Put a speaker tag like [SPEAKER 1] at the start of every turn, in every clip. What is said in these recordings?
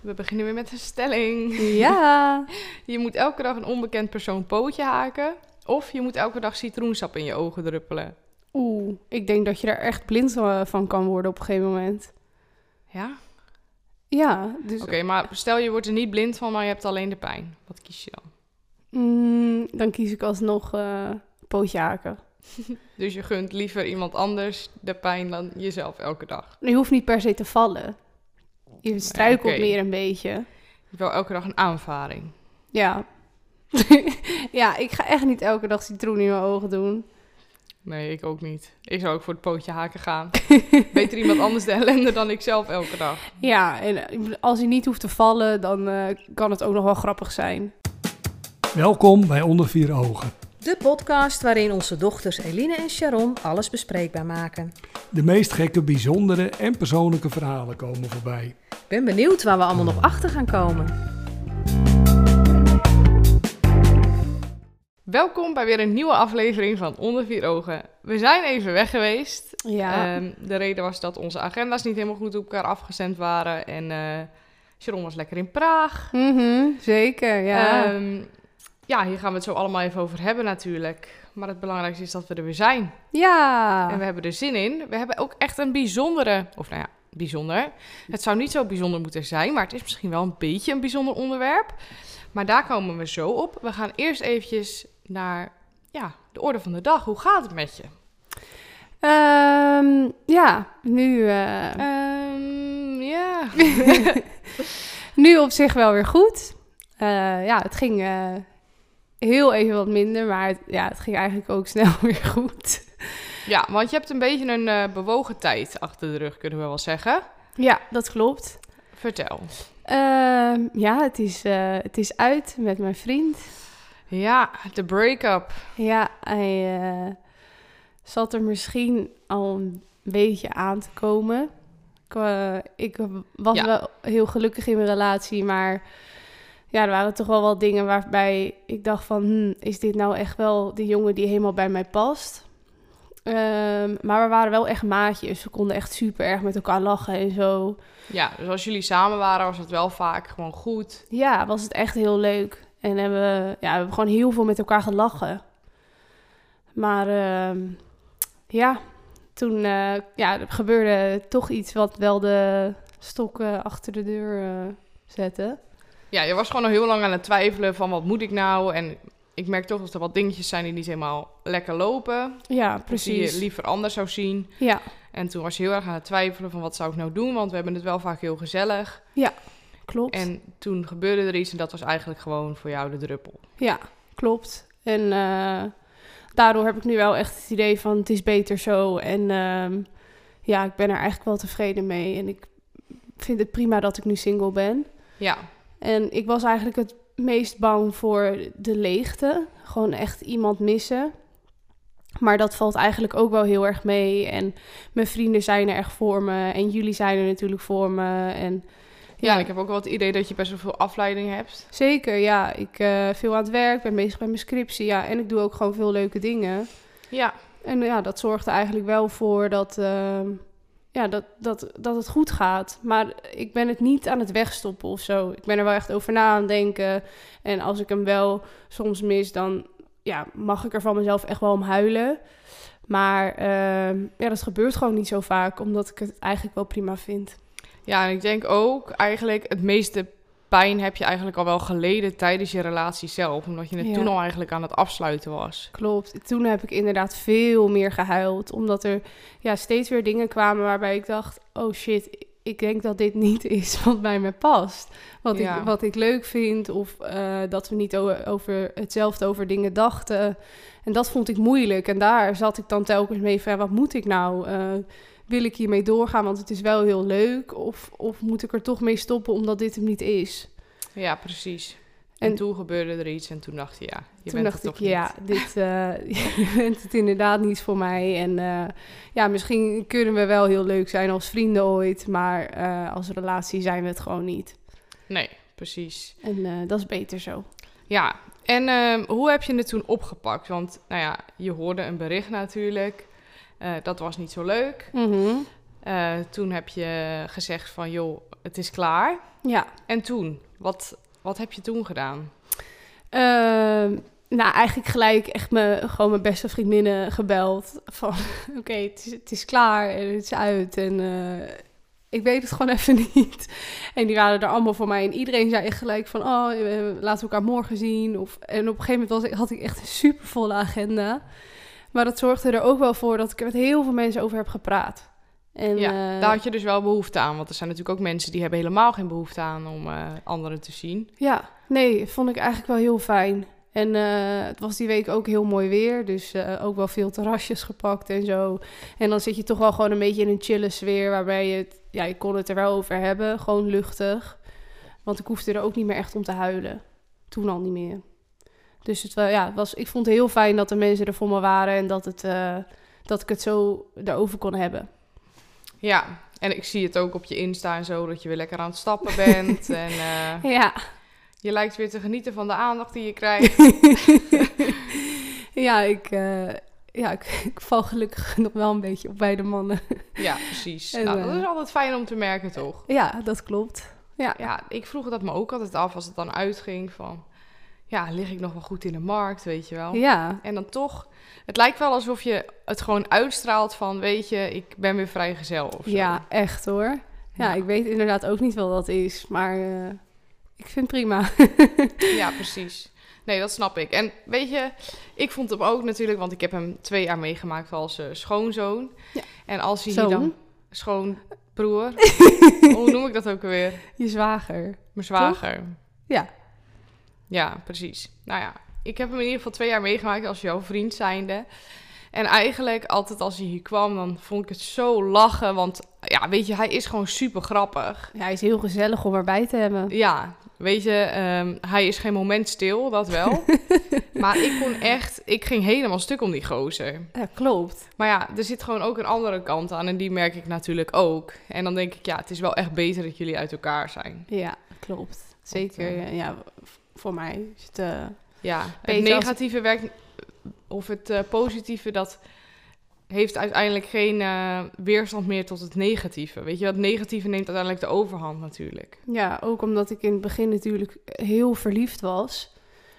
[SPEAKER 1] We beginnen weer met een stelling.
[SPEAKER 2] Ja.
[SPEAKER 1] Je moet elke dag een onbekend persoon pootje haken. Of je moet elke dag citroensap in je ogen druppelen.
[SPEAKER 2] Oeh, ik denk dat je daar echt blind eh, van kan worden op een gegeven moment.
[SPEAKER 1] Ja?
[SPEAKER 2] Ja, dus
[SPEAKER 1] Oké, maar stel je wordt er niet blind van, maar je hebt alleen de pijn. Wat kies je dan?
[SPEAKER 2] mm, dan kies ik alsnog eh, pootje haken.
[SPEAKER 1] Dus je gunt liever iemand anders de pijn dan jezelf elke dag.
[SPEAKER 2] Je hoeft niet per se te vallen. Je struikelt
[SPEAKER 1] oké.
[SPEAKER 2] meer een beetje.
[SPEAKER 1] Wel elke dag een aanvaring.
[SPEAKER 2] Ja. ja, ik ga echt niet elke dag citroen in mijn ogen doen.
[SPEAKER 1] Nee, ik ook niet. Ik zou ook voor het pootje haken gaan. Beter iemand anders de ellende dan ikzelf elke dag.
[SPEAKER 2] Ja, en eh, ik bedoel, als je niet hoeft te vallen, dan eh, kan het ook nog wel grappig zijn.
[SPEAKER 3] Welkom bij Onder Vier Ogen,
[SPEAKER 4] De podcast waarin onze dochters Eline en Sharon alles bespreekbaar maken.
[SPEAKER 3] de meest gekke, bijzondere en persoonlijke verhalen komen voorbij.
[SPEAKER 4] Ik ben benieuwd waar we allemaal nog achter gaan komen.
[SPEAKER 1] Welkom bij weer een nieuwe aflevering van Onder Vier Ogen. We zijn even weg geweest.
[SPEAKER 2] Ja.
[SPEAKER 1] Ehm, de reden was dat onze agenda's niet helemaal goed op elkaar afgestemd waren. En eh Sharon was lekker in Praag.
[SPEAKER 2] Mhm, zeker, ja.
[SPEAKER 1] Ehm, ja, hier gaan we het zo allemaal even over hebben natuurlijk. Maar het belangrijkste is dat we er weer zijn.
[SPEAKER 2] ja.
[SPEAKER 1] En we hebben er zin in. We hebben ook echt een bijzondere, of nou ja, bijzonder. Het zou niet zo bijzonder moeten zijn, maar het is misschien wel een beetje een bijzonder onderwerp. Maar daar komen we zo op. We gaan eerst eventjes naar ja, de orde van de dag. Hoe gaat het met je?
[SPEAKER 2] Ehm, ja, nu, eh,
[SPEAKER 1] Ehm, ja.
[SPEAKER 2] nu op zich wel weer goed. Eh, ja, het ging eh, heel even wat minder, maar het, ja, het ging eigenlijk ook snel weer goed.
[SPEAKER 1] ja, want je hebt een beetje een eh, bewogen tijd achter de rug, kunnen we wel zeggen.
[SPEAKER 2] Ja, dat klopt.
[SPEAKER 1] Vertel.
[SPEAKER 2] Ehm, ja, het is, eh, het is uit met mijn vriend.
[SPEAKER 1] Ja, de break-up.
[SPEAKER 2] Ja, hij eh, zat er misschien al een beetje aan te komen. Ik, eh, ik was
[SPEAKER 1] Ja.
[SPEAKER 2] wel heel gelukkig in mijn relatie, maar ja, er waren toch wel wat dingen waarbij ik dacht van, hmm, is dit nou echt wel de jongen die helemaal bij mij past? Ehm, maar we waren wel echt maatjes. We konden echt super erg met elkaar lachen en zo.
[SPEAKER 1] Ja, dus als jullie samen waren, was het wel vaak gewoon goed.
[SPEAKER 2] Ja, was het echt heel leuk. En hebben, we- ja, we hebben gewoon heel veel met elkaar gelachen. Maar ehm, ja, toen eh, ja, er gebeurde toch iets wat wel de stokken achter de deur eh, zette.
[SPEAKER 1] Ja, je was gewoon al heel lang aan het twijfelen van wat moet ik nou? En ik merk toch dat er wat dingetjes zijn die niet helemaal lekker lopen.
[SPEAKER 2] Ja,
[SPEAKER 1] Dus die je
[SPEAKER 2] precies.
[SPEAKER 1] liever anders zou zien.
[SPEAKER 2] Ja,
[SPEAKER 1] En toen was je heel erg aan het twijfelen van wat zou ik nou doen? Want we hebben het wel vaak heel gezellig.
[SPEAKER 2] klopt.
[SPEAKER 1] En toen gebeurde er iets en dat was eigenlijk gewoon voor jou de druppel.
[SPEAKER 2] Ja, klopt. En eh, daardoor heb ik nu wel echt het idee van het is beter zo. En ehm, ja, ik ben er eigenlijk wel tevreden mee. En ik vind het prima dat ik nu single ben.
[SPEAKER 1] Ja,
[SPEAKER 2] En ik was eigenlijk het meest bang voor de leegte. Gewoon echt iemand missen. Maar dat valt eigenlijk ook wel heel erg mee. En mijn vrienden zijn er echt voor me. En jullie zijn er natuurlijk voor me. En
[SPEAKER 1] ja. ik heb ook wel het idee dat je best wel veel afleiding hebt.
[SPEAKER 2] zeker. Ja, ik eh, veel aan het werk, ben bezig met mijn scriptie. Ja, en ik doe ook gewoon veel leuke dingen.
[SPEAKER 1] Ja,
[SPEAKER 2] En ja, dat zorgt er eigenlijk wel voor dat, ehm, ja, dat, dat, dat het goed gaat. Maar ik ben het niet aan het wegstoppen of zo. Ik ben er wel echt over na aan het denken. En als ik hem wel soms mis, dan ja, mag ik er van mezelf echt wel om huilen. Maar ehm, ja, dat gebeurt gewoon niet zo vaak, omdat ik het eigenlijk wel prima vind.
[SPEAKER 1] ja en ik denk ook eigenlijk het meeste pijn heb je eigenlijk al wel geleden tijdens je relatie zelf. Omdat je het
[SPEAKER 2] Ja.
[SPEAKER 1] toen al eigenlijk aan het afsluiten was.
[SPEAKER 2] Klopt. Toen heb ik inderdaad veel meer gehuild, omdat er ja, steeds weer dingen kwamen waarbij ik dacht: oh shit, ik denk dat dit niet is wat bij me past. Wat,
[SPEAKER 1] Ja.
[SPEAKER 2] ik, wat ik leuk vind, of eh, dat we niet o- over hetzelfde over dingen dachten. En dat vond ik moeilijk. En daar zat ik dan telkens mee van: ja, wat moet ik nou? Eh, wil ik hiermee doorgaan, want het is wel heel leuk? Of, of moet ik er toch mee stoppen omdat dit hem niet is?
[SPEAKER 1] Ja, precies. En,
[SPEAKER 2] En-
[SPEAKER 1] toen gebeurde er iets en toen dacht je, ja, je
[SPEAKER 2] Toen
[SPEAKER 1] bent
[SPEAKER 2] dacht
[SPEAKER 1] het
[SPEAKER 2] ik,
[SPEAKER 1] toch niet.
[SPEAKER 2] ja, dit eh, je bent het inderdaad niet voor mij. En eh, ja, misschien kunnen we wel heel leuk zijn als vrienden ooit, maar eh, als relatie zijn we het gewoon niet.
[SPEAKER 1] Nee, precies.
[SPEAKER 2] En eh, dat is beter zo.
[SPEAKER 1] Ja, en ehm, hoe heb je het toen opgepakt? Want, nou ja, je hoorde een bericht natuurlijk.
[SPEAKER 2] Mhm.
[SPEAKER 1] Eh, dat was niet zo leuk. Eh, toen heb je gezegd van, joh, het is klaar.
[SPEAKER 2] Ja.
[SPEAKER 1] En toen? Wat, wat heb je toen gedaan?
[SPEAKER 2] Ehm, nou, eigenlijk gelijk echt me, gewoon mijn beste vriendinnen gebeld. Van, oké, het, is, het is klaar en het is uit en eh, ik weet het gewoon even niet. En die waren er allemaal voor mij en iedereen zei echt gelijk van, oh, eh, laten we elkaar morgen zien. Of, en op een gegeven moment was, ik- had ik echt een supervolle agenda. Maar dat zorgde er ook wel voor dat ik er met heel veel mensen over heb gepraat. En,
[SPEAKER 1] ja,
[SPEAKER 2] eh,
[SPEAKER 1] daar had je dus wel behoefte aan. Want er zijn natuurlijk ook mensen die hebben helemaal geen behoefte aan om eh, anderen te zien.
[SPEAKER 2] Ja, nee, vond ik eigenlijk wel heel fijn. En eh, het was die week ook heel mooi weer, dus eh, ook wel veel terrasjes gepakt en zo. En dan zit je toch wel gewoon een beetje in een chille sfeer, waarbij je, het, ja, je kon het er wel over hebben, gewoon luchtig. Want ik hoefde er ook niet meer echt om te huilen, toen al niet meer. Dus het, wel, ja, het was, ik vond het heel fijn dat de mensen er voor me waren en dat, het, eh, dat ik het zo daarover kon hebben.
[SPEAKER 1] Ja, en ik zie het ook op je Insta en zo, dat je weer lekker aan het stappen bent. en eh,
[SPEAKER 2] Ja.
[SPEAKER 1] je lijkt weer te genieten van de aandacht die je krijgt.
[SPEAKER 2] ja, ik, eh, ja ik, ik val gelukkig nog wel een beetje op bij de mannen.
[SPEAKER 1] ja, precies.
[SPEAKER 2] En,
[SPEAKER 1] nou,
[SPEAKER 2] eh,
[SPEAKER 1] dat is altijd fijn om te merken, toch?
[SPEAKER 2] Ja, dat klopt. Ja,
[SPEAKER 1] Ja, ik vroeg dat me ook altijd af als het dan uitging van... Ja, lig ik nog wel goed in de markt, weet je wel?
[SPEAKER 2] ja,
[SPEAKER 1] En dan toch... Het lijkt wel alsof je het gewoon uitstraalt van... Weet je, ik ben weer vrijgezel of zo.
[SPEAKER 2] ja echt hoor. Ja,
[SPEAKER 1] Ja.
[SPEAKER 2] ik weet inderdaad ook niet wat dat is, maar eh, ik vind het prima.
[SPEAKER 1] Ja, precies. Nee, dat snap ik. En weet je, ik vond hem ook natuurlijk, want ik heb hem twee jaar meegemaakt als eh, schoonzoon.
[SPEAKER 2] Ja.
[SPEAKER 1] En als hij
[SPEAKER 2] Zoon.
[SPEAKER 1] hier dan schoonbroer, hoe noem ik dat ook alweer?
[SPEAKER 2] Je zwager.
[SPEAKER 1] Mijn zwager.
[SPEAKER 2] Ja.
[SPEAKER 1] Ja, precies. Nou ja, ik heb hem in ieder geval twee jaar meegemaakt als jouw vriend zijnde. En eigenlijk altijd als hij hier kwam, dan vond ik het zo lachen. Want ja, weet je, hij is gewoon super grappig.
[SPEAKER 2] Ja, hij is heel gezellig om erbij te hebben.
[SPEAKER 1] Ja, weet je, ehm, hij is geen moment stil, dat wel. maar ik kon echt, ik ging helemaal stuk om die gozer.
[SPEAKER 2] Ja, klopt.
[SPEAKER 1] Maar ja, er zit gewoon ook een andere kant aan en die merk ik natuurlijk ook. En dan denk ik, ja, het is wel echt beter dat jullie uit elkaar zijn.
[SPEAKER 2] Ja, klopt. Zeker,
[SPEAKER 1] Want,
[SPEAKER 2] eh, ja, v- voor mij is het... eh,
[SPEAKER 1] Ja, het
[SPEAKER 2] Beter als-
[SPEAKER 1] negatieve werkt, of het eh, positieve, dat heeft uiteindelijk geen eh, weerstand meer tot het negatieve. Weet je, het negatieve neemt uiteindelijk de overhand natuurlijk.
[SPEAKER 2] ja, ook omdat ik in het begin natuurlijk heel verliefd was.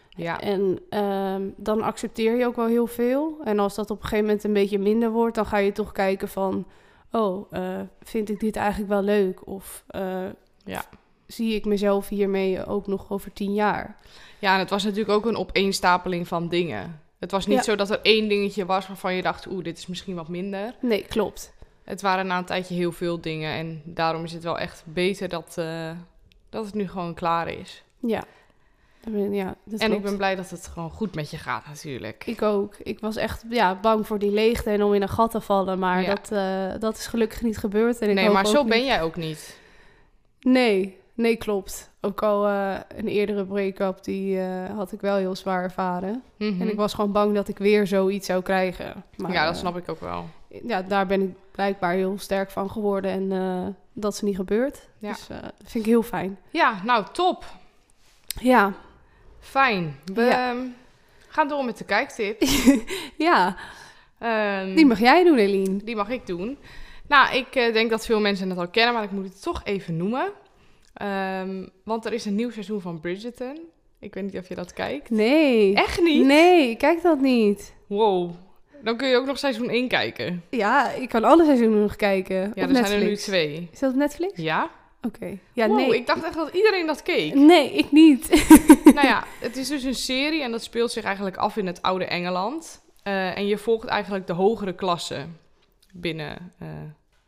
[SPEAKER 1] Ja,
[SPEAKER 2] En ehm, dan accepteer je ook wel heel veel. En als dat op een gegeven moment een beetje minder wordt, dan ga je toch kijken van... Oh, eh, vind ik dit eigenlijk wel leuk? Of eh,
[SPEAKER 1] Ja.
[SPEAKER 2] zie ik mezelf hiermee ook nog over tien jaar?
[SPEAKER 1] ja en het was natuurlijk ook een opeenstapeling van dingen. Het was niet
[SPEAKER 2] Ja.
[SPEAKER 1] zo dat er één dingetje was waarvan je dacht, oeh, dit is misschien wat minder.
[SPEAKER 2] Nee, klopt.
[SPEAKER 1] Het waren na een tijdje heel veel dingen en daarom is het wel echt beter dat, eh, dat het nu gewoon klaar is.
[SPEAKER 2] Ja. Ik ben- ja dat
[SPEAKER 1] en ik
[SPEAKER 2] klopt.
[SPEAKER 1] ben blij dat het gewoon goed met je gaat natuurlijk.
[SPEAKER 2] Ik ook. Ik was echt ja, bang voor die leegte en om in een gat te vallen. Maar
[SPEAKER 1] Ja.
[SPEAKER 2] dat, eh, dat is gelukkig niet gebeurd. En ik
[SPEAKER 1] nee,
[SPEAKER 2] hoop
[SPEAKER 1] maar
[SPEAKER 2] ook
[SPEAKER 1] zo
[SPEAKER 2] niet-
[SPEAKER 1] ben jij ook niet.
[SPEAKER 2] Nee, nee, klopt. Ook al eh, een eerdere break-up, die eh, had ik wel heel zwaar ervaren.
[SPEAKER 1] Mhm.
[SPEAKER 2] En ik was gewoon bang dat ik weer zoiets zou krijgen. Maar,
[SPEAKER 1] ja, dat snap ik ook wel.
[SPEAKER 2] eh, ja, daar ben ik blijkbaar heel sterk van geworden en eh, dat is niet gebeurd.
[SPEAKER 1] Ja.
[SPEAKER 2] Dus eh, dat vind ik heel fijn.
[SPEAKER 1] Ja, nou top.
[SPEAKER 2] Ja,
[SPEAKER 1] Fijn. We
[SPEAKER 2] Ja.
[SPEAKER 1] ehm, gaan door met de kijktip.
[SPEAKER 2] ja.
[SPEAKER 1] Mhm. Ehm,
[SPEAKER 2] die mag jij doen, Eline.
[SPEAKER 1] die mag ik doen. Nou, ik eh, denk dat veel mensen het al kennen, maar ik moet het toch even noemen. Ehm, want er is een nieuw seizoen van Bridgerton. Ik weet niet of je dat kijkt.
[SPEAKER 2] Nee.
[SPEAKER 1] Echt niet?
[SPEAKER 2] Nee, ik kijk dat niet.
[SPEAKER 1] Wow. Dan kun je ook nog seizoen 1 kijken.
[SPEAKER 2] Ja, ik kan alle seizoenen nog kijken.
[SPEAKER 1] Ja,
[SPEAKER 2] op
[SPEAKER 1] er zijn er nu
[SPEAKER 2] Netflix.
[SPEAKER 1] twee.
[SPEAKER 2] Is dat op Netflix?
[SPEAKER 1] Ja?
[SPEAKER 2] Oké. Ja,
[SPEAKER 1] Wow,
[SPEAKER 2] nee.
[SPEAKER 1] ik dacht echt dat iedereen dat keek.
[SPEAKER 2] Nee, ik niet.
[SPEAKER 1] nou ja, het is dus een serie en dat speelt zich eigenlijk af in het oude Engeland. Eh, en je volgt eigenlijk de hogere klasse binnen eh,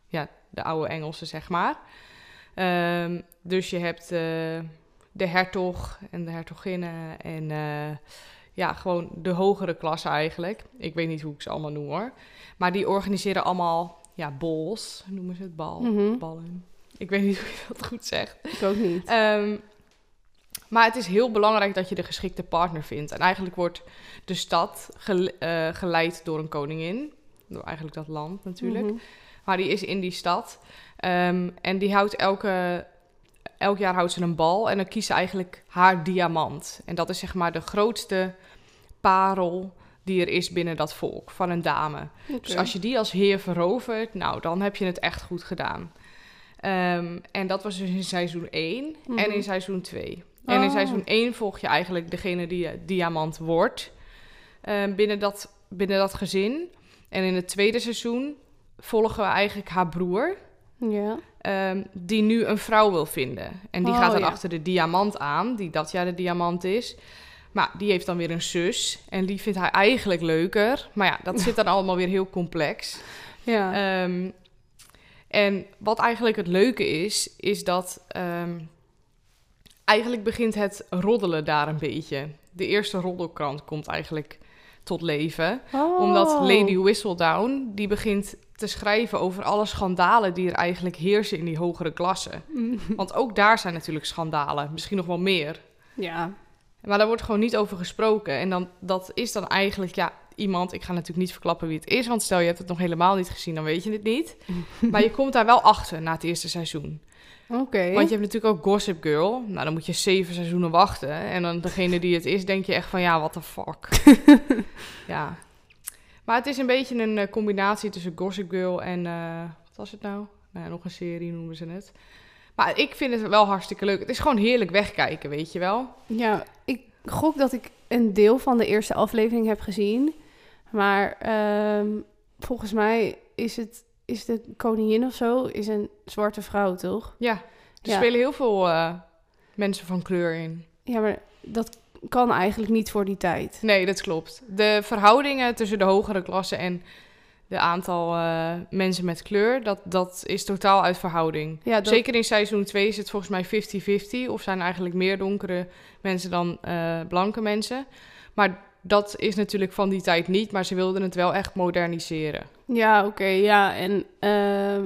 [SPEAKER 1] ja, de oude Engelsen, zeg maar. Ehm, dus je hebt eh, de hertog en de hertoginnen en eh, ja, gewoon de hogere klasse eigenlijk. Ik weet niet hoe ik ze allemaal noem hoor. Maar die organiseren allemaal ja, bols, noemen ze het bal.
[SPEAKER 2] Mhm.
[SPEAKER 1] Ballen. Ik weet niet hoe je dat goed zegt.
[SPEAKER 2] Ik ook niet.
[SPEAKER 1] Ehm, maar het is heel belangrijk dat je de geschikte partner vindt. En eigenlijk wordt de stad gele- eh, geleid door een koningin. Door eigenlijk dat land natuurlijk.
[SPEAKER 2] Mhm.
[SPEAKER 1] Maar die is in die stad. Ehm, en die houdt elke, elk jaar houdt ze een bal. En dan kiest ze eigenlijk haar diamant. En dat is zeg maar de grootste parel die er is binnen dat volk van een dame. Dus
[SPEAKER 2] Oké.
[SPEAKER 1] als je die als heer verovert, nou, dan heb je het echt goed gedaan. Ehm, en dat was dus in seizoen 1
[SPEAKER 2] Mhm.
[SPEAKER 1] en in seizoen 2. En in
[SPEAKER 2] Oh.
[SPEAKER 1] seizoen 1 volg je eigenlijk degene die eh, diamant wordt ehm, binnen, dat, binnen dat gezin. En in het tweede seizoen volgen we eigenlijk haar broer,
[SPEAKER 2] Ja.
[SPEAKER 1] ehm, die nu een vrouw wil vinden. En die
[SPEAKER 2] Oh,
[SPEAKER 1] gaat dan
[SPEAKER 2] ja.
[SPEAKER 1] achter de diamant aan, die dat jaar de diamant is. Maar die heeft dan weer een zus en die vindt hij eigenlijk leuker. Maar ja, dat zit dan allemaal weer heel complex.
[SPEAKER 2] Ja.
[SPEAKER 1] Ehm, en wat eigenlijk het leuke is, is dat ehm, eigenlijk begint het roddelen daar een beetje. De eerste roddelkrant komt eigenlijk tot leven.
[SPEAKER 2] Oh.
[SPEAKER 1] Eh, Omdat Lady Whistledown, die begint te schrijven over alle schandalen die er eigenlijk heersen in die hogere klassen. Want ook daar zijn natuurlijk schandalen, misschien nog wel meer.
[SPEAKER 2] Ja.
[SPEAKER 1] Maar daar wordt gewoon niet over gesproken. En dan, dat is dan eigenlijk, ja, iemand... Ik ga natuurlijk niet verklappen wie het is, want stel je hebt het nog helemaal niet gezien, dan weet je het niet. maar je komt daar wel achter na het eerste seizoen.
[SPEAKER 2] Oké.
[SPEAKER 1] Want je hebt natuurlijk ook Gossip Girl. Nou, dan moet je zeven seizoenen wachten. En dan degene die het is, denk je echt van, ja, what the fuck. ja. Maar het is een beetje een eh, combinatie tussen Gossip Girl en... eh, wat was het nou? Nou ja, nog een serie noemen ze het. Maar ik vind het wel hartstikke leuk. Het is gewoon heerlijk wegkijken, weet je wel.
[SPEAKER 2] Ja, ik gok dat ik een deel van de eerste aflevering heb gezien. Maar ehm, volgens mij is het is de koningin of zo is een zwarte vrouw, toch?
[SPEAKER 1] Ja, er
[SPEAKER 2] Ja.
[SPEAKER 1] spelen heel veel eh, mensen van kleur in.
[SPEAKER 2] Ja, maar dat kan eigenlijk niet voor die tijd.
[SPEAKER 1] Nee, dat klopt. De verhoudingen tussen de hogere klasse en de aantal eh, mensen met kleur, dat, dat is totaal uit verhouding.
[SPEAKER 2] Ja, dat,
[SPEAKER 1] Zeker in seizoen 2 is het volgens mij 50-50. Of zijn eigenlijk meer donkere mensen dan eh, blanke mensen. Maar dat is natuurlijk van die tijd niet. Maar ze wilden het wel echt moderniseren.
[SPEAKER 2] Ja, oké, ja. En ehm,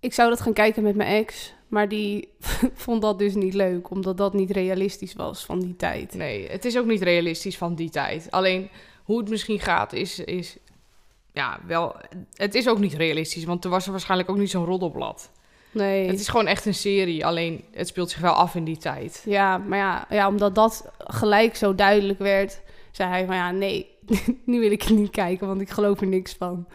[SPEAKER 2] ik zou dat gaan kijken met mijn ex, maar die vond dat dus niet leuk, omdat dat niet realistisch was van die tijd.
[SPEAKER 1] Nee, het is ook niet realistisch van die tijd. Alleen hoe het misschien gaat is, is ja, wel. Het is ook niet realistisch, want er was er waarschijnlijk ook niet zo'n roddelblad.
[SPEAKER 2] Nee.
[SPEAKER 1] Het is gewoon echt een serie, alleen het speelt zich wel af in die tijd.
[SPEAKER 2] Ja, maar ja, ja, omdat dat gelijk zo duidelijk werd, zei hij van ja, nee, nu wil ik het niet kijken, want ik geloof er niks van.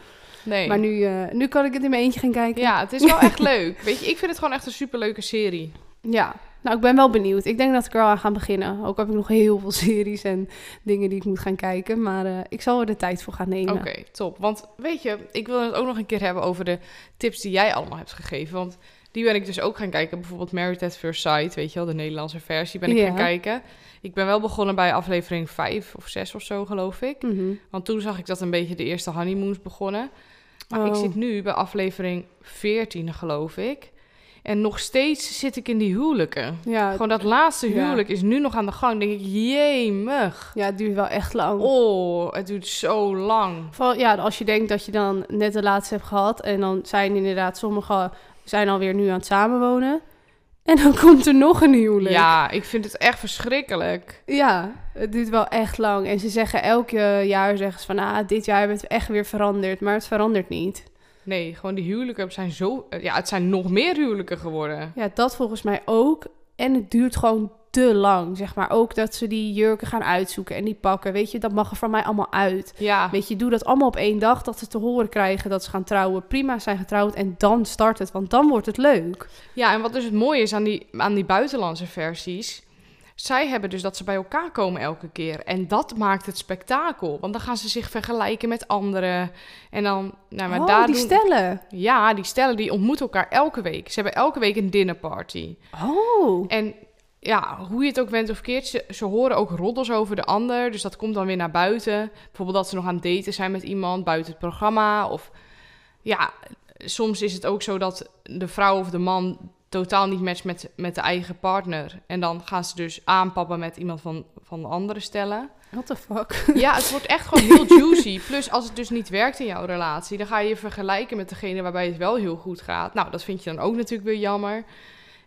[SPEAKER 1] Nee.
[SPEAKER 2] Maar nu, eh, nu kan ik het in mijn eentje gaan kijken.
[SPEAKER 1] Ja, het is wel echt leuk. Weet je, ik vind het gewoon echt een superleuke serie.
[SPEAKER 2] Ja. Nou, ik ben wel benieuwd. Ik denk dat ik er al aan ga beginnen. Ook heb ik nog heel veel series en dingen die ik moet gaan kijken. Maar eh, ik zal er de tijd voor gaan nemen.
[SPEAKER 1] Oké, top. Want weet je, ik wil het ook nog een keer hebben over de tips die jij allemaal hebt gegeven. Want die ben ik dus ook gaan kijken. Bijvoorbeeld Married at First Sight, weet je wel, de Nederlandse versie ben ik
[SPEAKER 2] Ja.
[SPEAKER 1] gaan kijken. Ik ben wel begonnen bij aflevering 5 of 6 of zo, geloof ik.
[SPEAKER 2] Mhm.
[SPEAKER 1] Want toen zag ik dat een beetje de eerste honeymoons begonnen. Maar ik
[SPEAKER 2] Oh.
[SPEAKER 1] zit nu bij aflevering 14, geloof ik. En nog steeds zit ik in die huwelijken.
[SPEAKER 2] Ja,
[SPEAKER 1] Gewoon dat laatste
[SPEAKER 2] ja.
[SPEAKER 1] huwelijk is nu nog aan de gang. Dan denk ik, jemig.
[SPEAKER 2] ja, het duurt wel echt lang.
[SPEAKER 1] Oh, het duurt zo lang.
[SPEAKER 2] Vooral, ja, als je denkt dat je dan net de laatste hebt gehad en dan zijn inderdaad sommigen zijn alweer nu aan het samenwonen. En dan komt er nog een huwelijk.
[SPEAKER 1] Ja, ik vind het echt verschrikkelijk.
[SPEAKER 2] Ja, het duurt wel echt lang. En ze zeggen elke jaar zeggen ze van ah, dit jaar hebben we het echt weer veranderd, maar het verandert niet.
[SPEAKER 1] Nee, gewoon die huwelijken zijn zo... eh, Ja, het zijn nog meer huwelijken geworden.
[SPEAKER 2] Ja, dat volgens mij ook. En het duurt gewoon te lang, zeg maar. Ook dat ze die jurken gaan uitzoeken en die pakken. Weet je, dat mag er van mij allemaal uit.
[SPEAKER 1] Ja,
[SPEAKER 2] Weet je, doe dat allemaal op één dag, dat ze te horen krijgen dat ze gaan trouwen. Prima, zijn getrouwd en dan start het, want dan wordt het leuk.
[SPEAKER 1] ja en wat dus het mooie is aan die, aan die buitenlandse versies... Zij hebben dus dat ze bij elkaar komen elke keer. En dat maakt het spektakel. Want dan gaan ze zich vergelijken met anderen. En dan... Nou, maar
[SPEAKER 2] oh,
[SPEAKER 1] daar
[SPEAKER 2] die
[SPEAKER 1] doen-
[SPEAKER 2] stellen.
[SPEAKER 1] Ja, die stellen die ontmoeten elkaar elke week. Ze hebben elke week een dinnerparty.
[SPEAKER 2] Oh.
[SPEAKER 1] En ja, hoe je het ook went of keert, ze, ze horen ook roddels over de ander. Dus dat komt dan weer naar buiten. Bijvoorbeeld dat ze nog aan het daten zijn met iemand buiten het programma. Of ja, soms is het ook zo dat de vrouw of de man totaal niet matcht met, met de eigen partner. En dan gaan ze dus aanpappen met iemand van, van de andere stellen.
[SPEAKER 2] What the fuck?
[SPEAKER 1] Ja, het wordt echt gewoon heel juicy. Plus, als het dus niet werkt in jouw relatie, dan ga je je vergelijken met degene waarbij het wel heel goed gaat. Nou, dat vind je dan ook natuurlijk weer jammer.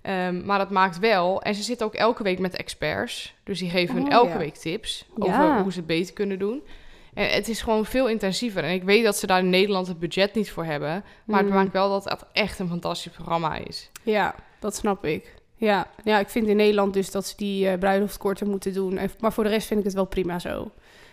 [SPEAKER 1] Ehm, maar dat maakt wel. En ze zitten ook elke week met experts. Dus die geven hun
[SPEAKER 2] Oh,
[SPEAKER 1] elke
[SPEAKER 2] ja.
[SPEAKER 1] week tips
[SPEAKER 2] Ja.
[SPEAKER 1] over hoe ze het beter kunnen doen. En het is gewoon veel intensiever. En ik weet dat ze daar in Nederland het budget niet voor hebben. Maar
[SPEAKER 2] Mm.
[SPEAKER 1] het maakt wel dat het echt een fantastisch programma is.
[SPEAKER 2] Ja, dat snap ik. Ja, ja ik vind in Nederland dus dat ze die eh bruiloft korter moeten doen. En- Maar voor de rest vind ik het wel prima zo.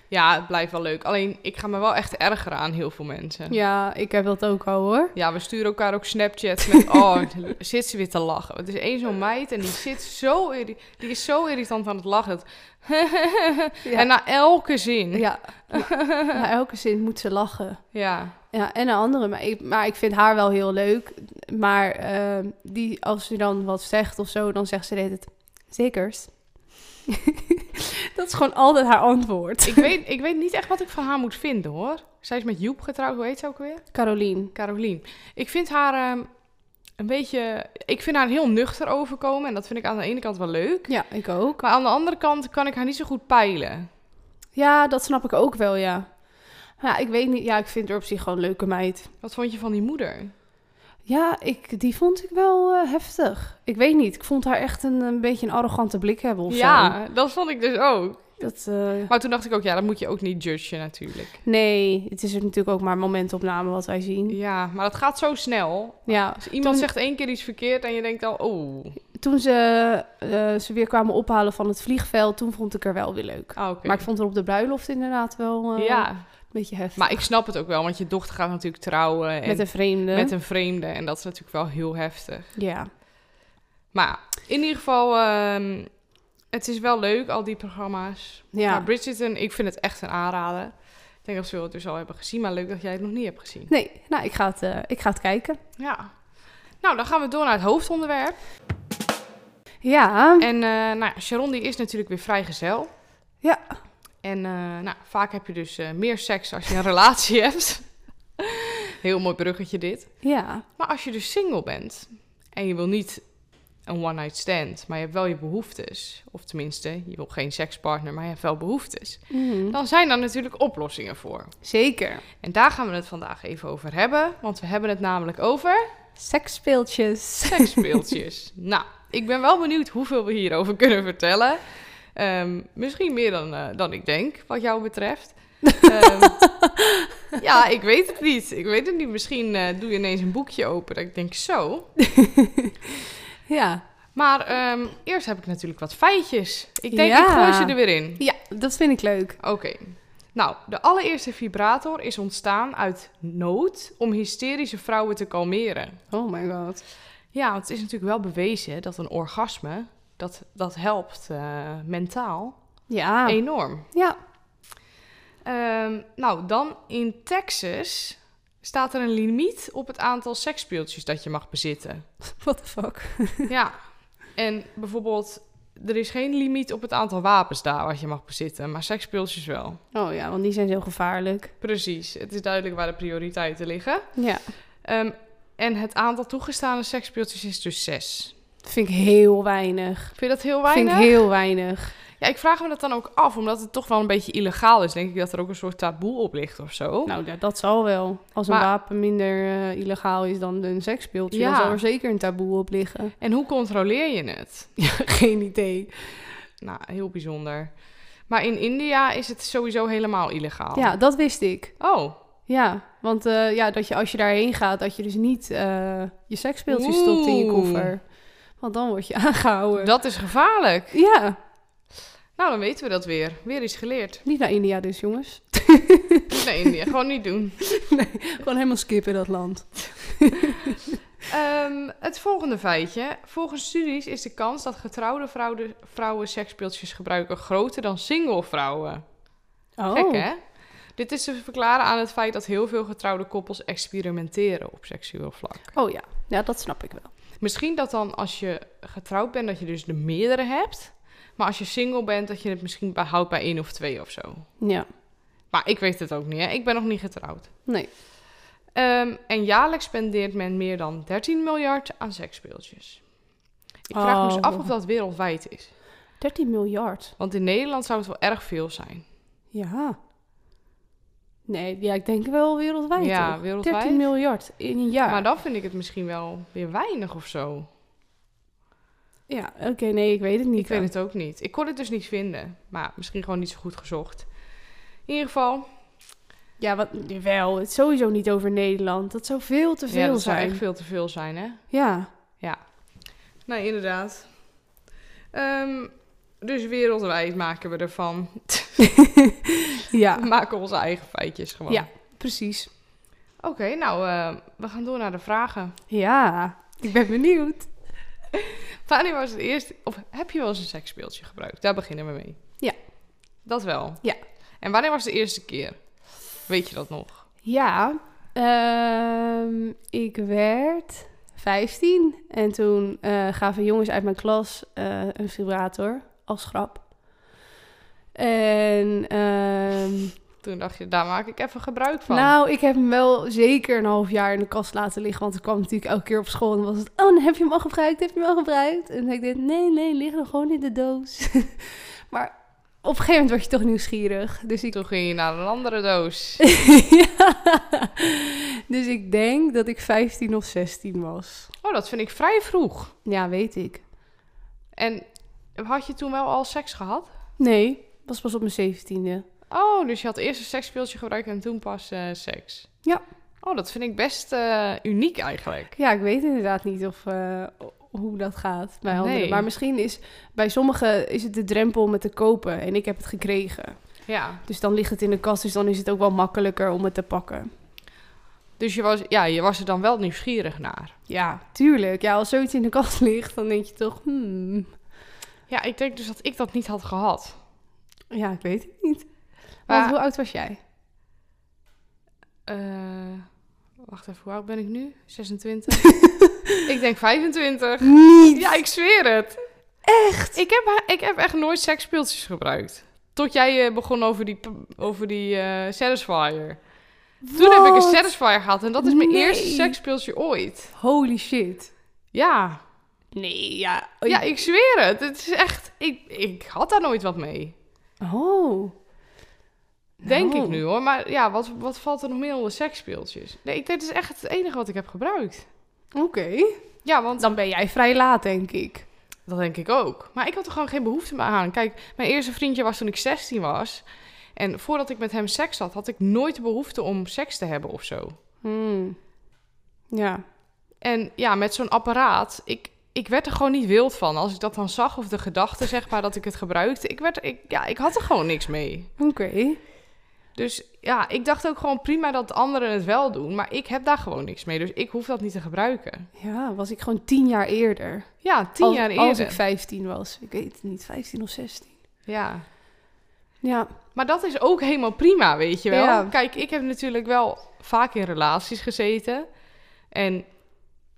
[SPEAKER 1] Ja, het blijft wel leuk. Alleen, ik ga me wel echt ergeren aan heel veel mensen. Ja,
[SPEAKER 2] Ja, ik heb dat ook al hoor.
[SPEAKER 1] we sturen elkaar ook Snapchats met... Oh, zit ze weer te lachen. Het is één zo'n meid en die zit zo... irri- Die is zo irritant aan het lachen.
[SPEAKER 2] Ja. Mm.
[SPEAKER 1] En na elke zin.
[SPEAKER 2] Ja, na elke zin moet ze lachen.
[SPEAKER 1] Ja.
[SPEAKER 2] Ja, en een andere. Maar ik, maar ik vind haar wel heel leuk. Maar ehm, die, als ze dan wat zegt of zo, dan zegt ze dit het zekers. dat is gewoon altijd haar antwoord.
[SPEAKER 1] Ik, weet, ik weet niet echt wat ik van haar moet vinden, hoor. Zij is met Joep getrouwd. Hoe heet ze ook weer?
[SPEAKER 2] Caroline.
[SPEAKER 1] Carolien. Ik vind haar ehm, een beetje... Ik vind haar heel nuchter overkomen. En dat vind ik aan de ene kant wel leuk.
[SPEAKER 2] Ja, ik ook.
[SPEAKER 1] Maar aan de andere kant kan ik haar niet zo goed peilen.
[SPEAKER 2] Ja, dat snap ik ook wel, ja. Ja, ik weet niet. Ja, ik vind haar op zich gewoon een leuke meid.
[SPEAKER 1] Wat vond je van die moeder?
[SPEAKER 2] Ja, ik, die vond ik wel eh, heftig. Ik weet niet. Ik vond haar echt een, een beetje een arrogante blik hebben of zo.
[SPEAKER 1] ja, dat vond ik dus ook.
[SPEAKER 2] Dat, eh,
[SPEAKER 1] Maar toen dacht ik ook, ja, dat moet je ook niet judgen natuurlijk.
[SPEAKER 2] Nee, het is natuurlijk ook maar een momentopname wat wij zien.
[SPEAKER 1] Ja, maar dat gaat zo snel.
[SPEAKER 2] Ja,
[SPEAKER 1] Als iemand
[SPEAKER 2] Toen-
[SPEAKER 1] zegt één keer iets verkeerd en je denkt al, oh,
[SPEAKER 2] toen ze, eh, ze weer kwamen ophalen van het vliegveld, toen vond ik haar wel weer leuk.
[SPEAKER 1] ah, oké.
[SPEAKER 2] Maar ik vond haar op de bruiloft inderdaad wel eh,
[SPEAKER 1] Ja,
[SPEAKER 2] een beetje heftig.
[SPEAKER 1] maar ik snap het ook wel, want je dochter gaat natuurlijk trouwen en
[SPEAKER 2] met een vreemde.
[SPEAKER 1] met een vreemde. En dat is natuurlijk wel heel heftig.
[SPEAKER 2] Ja.
[SPEAKER 1] Maar in ieder geval, ehm, het is wel leuk, al die programma's.
[SPEAKER 2] ja.
[SPEAKER 1] Maar Bridgerton, ik vind het echt een aanrader. Ik denk dat we het dus al hebben gezien, maar leuk dat jij het nog niet hebt gezien.
[SPEAKER 2] Nee, nou, ik ga, het, eh, ik ga het kijken.
[SPEAKER 1] Ja. Nou, dan gaan we door naar het hoofdonderwerp.
[SPEAKER 2] Ja,
[SPEAKER 1] En eh, nou, ja, Sharon die is natuurlijk weer vrijgezel.
[SPEAKER 2] Ja.
[SPEAKER 1] En eh, nou, vaak heb je dus eh, meer seks als je een relatie hebt. Heel mooi bruggetje dit.
[SPEAKER 2] ja.
[SPEAKER 1] Maar als je dus single bent en je wil niet een one night stand, maar je hebt wel je behoeftes. Of tenminste, je wil geen sekspartner, maar je hebt wel behoeftes.
[SPEAKER 2] Mhm.
[SPEAKER 1] Dan zijn daar natuurlijk oplossingen voor.
[SPEAKER 2] Zeker.
[SPEAKER 1] En daar gaan we het vandaag even over hebben. Want we hebben het namelijk over
[SPEAKER 2] Seksspeeltjes.
[SPEAKER 1] seksspeeltjes. nou, ik ben wel benieuwd hoeveel we hierover kunnen vertellen. Ehm, misschien meer dan, eh, dan ik denk, wat jou betreft. Ehm, ja, ik weet het niet. Ik weet het niet. Misschien eh, doe je ineens een boekje open dat ik denk zo.
[SPEAKER 2] Ja.
[SPEAKER 1] Maar ehm, eerst heb ik natuurlijk wat feitjes. Ik denk,
[SPEAKER 2] Ja.
[SPEAKER 1] ik gooi ze er weer in.
[SPEAKER 2] ja, dat vind ik leuk.
[SPEAKER 1] Oké. Nou, de allereerste vibrator is ontstaan uit nood om hysterische vrouwen te kalmeren.
[SPEAKER 2] Oh my god.
[SPEAKER 1] Ja, want het is natuurlijk wel bewezen dat een orgasme, dat, dat helpt eh, mentaal
[SPEAKER 2] Ja.
[SPEAKER 1] enorm.
[SPEAKER 2] Ja.
[SPEAKER 1] Ah. Ehm, nou, dan in Texas staat er een limiet op het aantal seksspeeltjes dat je mag bezitten.
[SPEAKER 2] What the fuck.
[SPEAKER 1] ja, en bijvoorbeeld, er is geen limiet op het aantal wapens daar wat je mag bezitten, maar seksspeeltjes wel.
[SPEAKER 2] Oh ja, want die zijn zo gevaarlijk.
[SPEAKER 1] Precies, het is duidelijk waar de prioriteiten liggen.
[SPEAKER 2] Ja.
[SPEAKER 1] Ehm, en het aantal toegestane seksspeeltjes is dus zes.
[SPEAKER 2] Vind ik heel weinig.
[SPEAKER 1] Vind je dat heel weinig?
[SPEAKER 2] Vind ik heel weinig.
[SPEAKER 1] Ja, ik vraag me dat dan ook af, omdat het toch wel een beetje illegaal is. Denk ik dat er ook een soort taboe op ligt of zo.
[SPEAKER 2] Nou, ja, dat zal wel. Als een
[SPEAKER 1] Maar-
[SPEAKER 2] wapen minder eh, illegaal is dan een seksspeeltje,
[SPEAKER 1] Ja.
[SPEAKER 2] dan zal er zeker een taboe op liggen.
[SPEAKER 1] En hoe controleer je het?
[SPEAKER 2] Geen idee.
[SPEAKER 1] Nou, heel bijzonder. Maar in India is het sowieso helemaal illegaal.
[SPEAKER 2] Ja, dat wist ik.
[SPEAKER 1] Oh,
[SPEAKER 2] Ja, want eh, ja, dat je als je daarheen gaat, dat je dus niet eh, je seksspeeltjes stopt in je
[SPEAKER 1] Oeh.
[SPEAKER 2] koffer. Want dan word je aangehouden.
[SPEAKER 1] dat is gevaarlijk.
[SPEAKER 2] Ja,
[SPEAKER 1] Nou, dan weten we dat weer. Weer iets geleerd.
[SPEAKER 2] niet naar India dus, jongens.
[SPEAKER 1] Niet naar India, gewoon niet doen.
[SPEAKER 2] Gewoon helemaal skippen dat land.
[SPEAKER 1] Ehm, het volgende feitje. Volgens studies is de kans dat getrouwde vrouwen, vrouwen seksspeeltjes gebruiken groter dan single vrouwen.
[SPEAKER 2] Oh,
[SPEAKER 1] Gek, hè? Dit is te verklaren aan het feit dat heel veel getrouwde koppels experimenteren op seksueel vlak.
[SPEAKER 2] oh ja. ja, dat snap ik wel.
[SPEAKER 1] Misschien dat dan als je getrouwd bent, dat je dus de meerdere hebt. Maar als je single bent, dat je het misschien bij- houdt bij één of twee of zo.
[SPEAKER 2] Ja,
[SPEAKER 1] Maar ik weet het ook niet, hè? Ik ben nog niet getrouwd.
[SPEAKER 2] nee.
[SPEAKER 1] Ehm, en jaarlijks spendeert men meer dan 13 miljard aan seksspeeltjes. Ik vraag me dus
[SPEAKER 2] Oh.
[SPEAKER 1] af of dat wereldwijd is.
[SPEAKER 2] 13 miljard.
[SPEAKER 1] Want in Nederland zou het wel erg veel zijn.
[SPEAKER 2] Ja. Nee, ja, ik denk wel wereldwijd.
[SPEAKER 1] Ja,
[SPEAKER 2] toch?
[SPEAKER 1] wereldwijd.
[SPEAKER 2] 13 miljard in een jaar.
[SPEAKER 1] Maar dan vind ik het misschien wel weer weinig of zo.
[SPEAKER 2] Ja, oké, nee, ik weet het niet.
[SPEAKER 1] Ik weet het ook niet. Ik kon het dus niet vinden. Maar misschien gewoon niet zo goed gezocht. In ieder geval,
[SPEAKER 2] Ja, wat, jawel, het is sowieso niet over Nederland. Dat zou veel te veel
[SPEAKER 1] ja, dat zou
[SPEAKER 2] zijn.
[SPEAKER 1] echt veel te veel zijn, hè?
[SPEAKER 2] Ja,
[SPEAKER 1] Nou, inderdaad. Ehm, dus wereldwijd maken we ervan.
[SPEAKER 2] ja,
[SPEAKER 1] We maken onze eigen feitjes gewoon.
[SPEAKER 2] Ja. precies.
[SPEAKER 1] Oké, nou, eh, we gaan door naar de vragen.
[SPEAKER 2] Ja, ik ben benieuwd.
[SPEAKER 1] Wanneer was het eerst, of heb je wel eens een seksspeeltje gebruikt? Daar beginnen we mee.
[SPEAKER 2] Ja.
[SPEAKER 1] Dat wel?
[SPEAKER 2] Ja.
[SPEAKER 1] En wanneer was de eerste keer? Weet je dat nog?
[SPEAKER 2] Ja, ehm, ik werd 15 en toen eh, gaven jongens uit mijn klas eh, een vibrator als grap. En ehm,
[SPEAKER 1] Toen dacht je, daar maak ik even gebruik van.
[SPEAKER 2] nou, ik heb hem wel zeker een half jaar in de kast laten liggen, want ik kwam natuurlijk elke keer op school en was het, oh, dan heb je hem al gebruikt, heb je hem al gebruikt? En ik dacht, nee, nee, lig nog gewoon in de doos. maar op een gegeven moment word je toch nieuwsgierig, dus ik
[SPEAKER 1] Toen ging je naar een andere doos.
[SPEAKER 2] ja. Dus ik denk dat ik 15 of 16 was.
[SPEAKER 1] Oh, dat vind ik vrij vroeg.
[SPEAKER 2] Ja, weet ik.
[SPEAKER 1] En had je toen wel al seks gehad?
[SPEAKER 2] Nee, was pas op mijn 17e.
[SPEAKER 1] Oh, dus je had eerst een seksspeeltje gebruikt en toen pas eh, seks.
[SPEAKER 2] Ja.
[SPEAKER 1] Oh, dat vind ik best eh, uniek eigenlijk.
[SPEAKER 2] Ja, ik weet inderdaad niet of, eh, hoe dat gaat bij anderen.
[SPEAKER 1] Nee.
[SPEAKER 2] Maar misschien is bij sommigen is het de drempel om het te kopen en ik heb het gekregen.
[SPEAKER 1] Ja.
[SPEAKER 2] Dus dan ligt het in de kast, dus dan is het ook wel makkelijker om het te pakken.
[SPEAKER 1] Dus je was, ja, je was er dan wel nieuwsgierig naar.
[SPEAKER 2] Ja, tuurlijk. Ja, als zoiets in de kast ligt, dan denk je toch, hmm.
[SPEAKER 1] Ja, ik denk dus dat ik dat niet had gehad.
[SPEAKER 2] Ja, ik weet het niet. Want
[SPEAKER 1] Maar-
[SPEAKER 2] hoe oud was jij?
[SPEAKER 1] Eh, wacht even, hoe oud ben ik nu? 26? ik denk 25.
[SPEAKER 2] Niet!
[SPEAKER 1] Ja, ik zweer het. Echt? Ik heb, ik heb echt nooit seksspeeltjes gebruikt. Tot jij eh, begon over die, p- over die eh, Satisfyer. Toen heb ik een Satisfyer gehad en dat is mijn
[SPEAKER 2] Nee.
[SPEAKER 1] eerste seksspeeltje ooit.
[SPEAKER 2] Holy shit.
[SPEAKER 1] Ja.
[SPEAKER 2] Nee, ja.
[SPEAKER 1] ja, ik zweer het. Het is echt... Ik, ik had daar nooit wat mee.
[SPEAKER 2] Oh.
[SPEAKER 1] Denk
[SPEAKER 2] Nou.
[SPEAKER 1] ik nu hoor. Maar ja, wat, wat valt er nog meer onder seksspeeltjes? Nee, ik, dit is echt het enige wat ik heb gebruikt.
[SPEAKER 2] Oké.
[SPEAKER 1] Ja, want
[SPEAKER 2] Dan ben jij vrij laat, denk ik.
[SPEAKER 1] Dat denk ik ook. Maar ik had er gewoon geen behoefte meer aan. Kijk, mijn eerste vriendje was toen ik 16 was. En voordat ik met hem seks had, had ik nooit de behoefte om seks te hebben of zo.
[SPEAKER 2] Hmm. Ja.
[SPEAKER 1] En ja, met zo'n apparaat, ik, ik werd er gewoon niet wild van. Als ik dat dan zag, of de gedachte zeg maar dat ik het gebruikte. Ik, werd, er- ik, ja, ik had er gewoon niks mee.
[SPEAKER 2] Oké.
[SPEAKER 1] Dus ja, ik dacht ook gewoon prima dat anderen het wel doen. Maar ik heb daar gewoon niks mee. Dus ik hoef dat niet te gebruiken.
[SPEAKER 2] Ja, was ik gewoon tien jaar eerder.
[SPEAKER 1] Ja, tien
[SPEAKER 2] Als-
[SPEAKER 1] jaar eerder.
[SPEAKER 2] Als ik 15 was. Ik weet het niet, 15 of 16.
[SPEAKER 1] Ja.
[SPEAKER 2] Ja.
[SPEAKER 1] Maar dat is ook helemaal prima, weet je wel.
[SPEAKER 2] Ja.
[SPEAKER 1] Kijk, ik heb natuurlijk wel vaak in relaties gezeten. En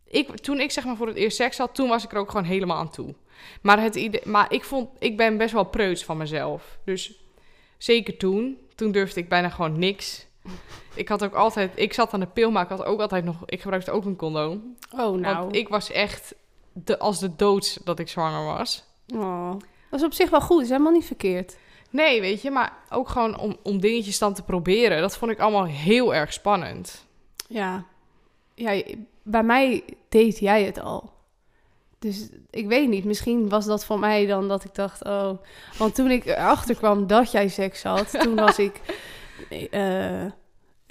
[SPEAKER 1] ik, toen ik zeg maar voor het eerst seks had, toen was ik er ook gewoon helemaal aan toe. Maar, het idee, maar ik, vond, ik ben best wel preuts van mezelf. Dus zeker toen, toen durfde ik bijna gewoon niks. Ik had ook altijd, ik zat aan de pil, maar ik had ook altijd nog, ik gebruikte ook een condoom.
[SPEAKER 2] Oh, nou.
[SPEAKER 1] Want ik was echt de, als de doods dat ik zwanger was.
[SPEAKER 2] Oh. Dat is op zich wel goed, is helemaal niet verkeerd.
[SPEAKER 1] Nee, weet je, maar ook gewoon om, om dingetjes dan te proberen. Dat vond ik allemaal heel erg spannend.
[SPEAKER 2] Ja. ja. je- Bij mij deed jij het al. Dus ik weet niet, misschien was dat van mij dan dat ik dacht, oh... Want toen ik erachter kwam dat jij seks had, toen was ik eh,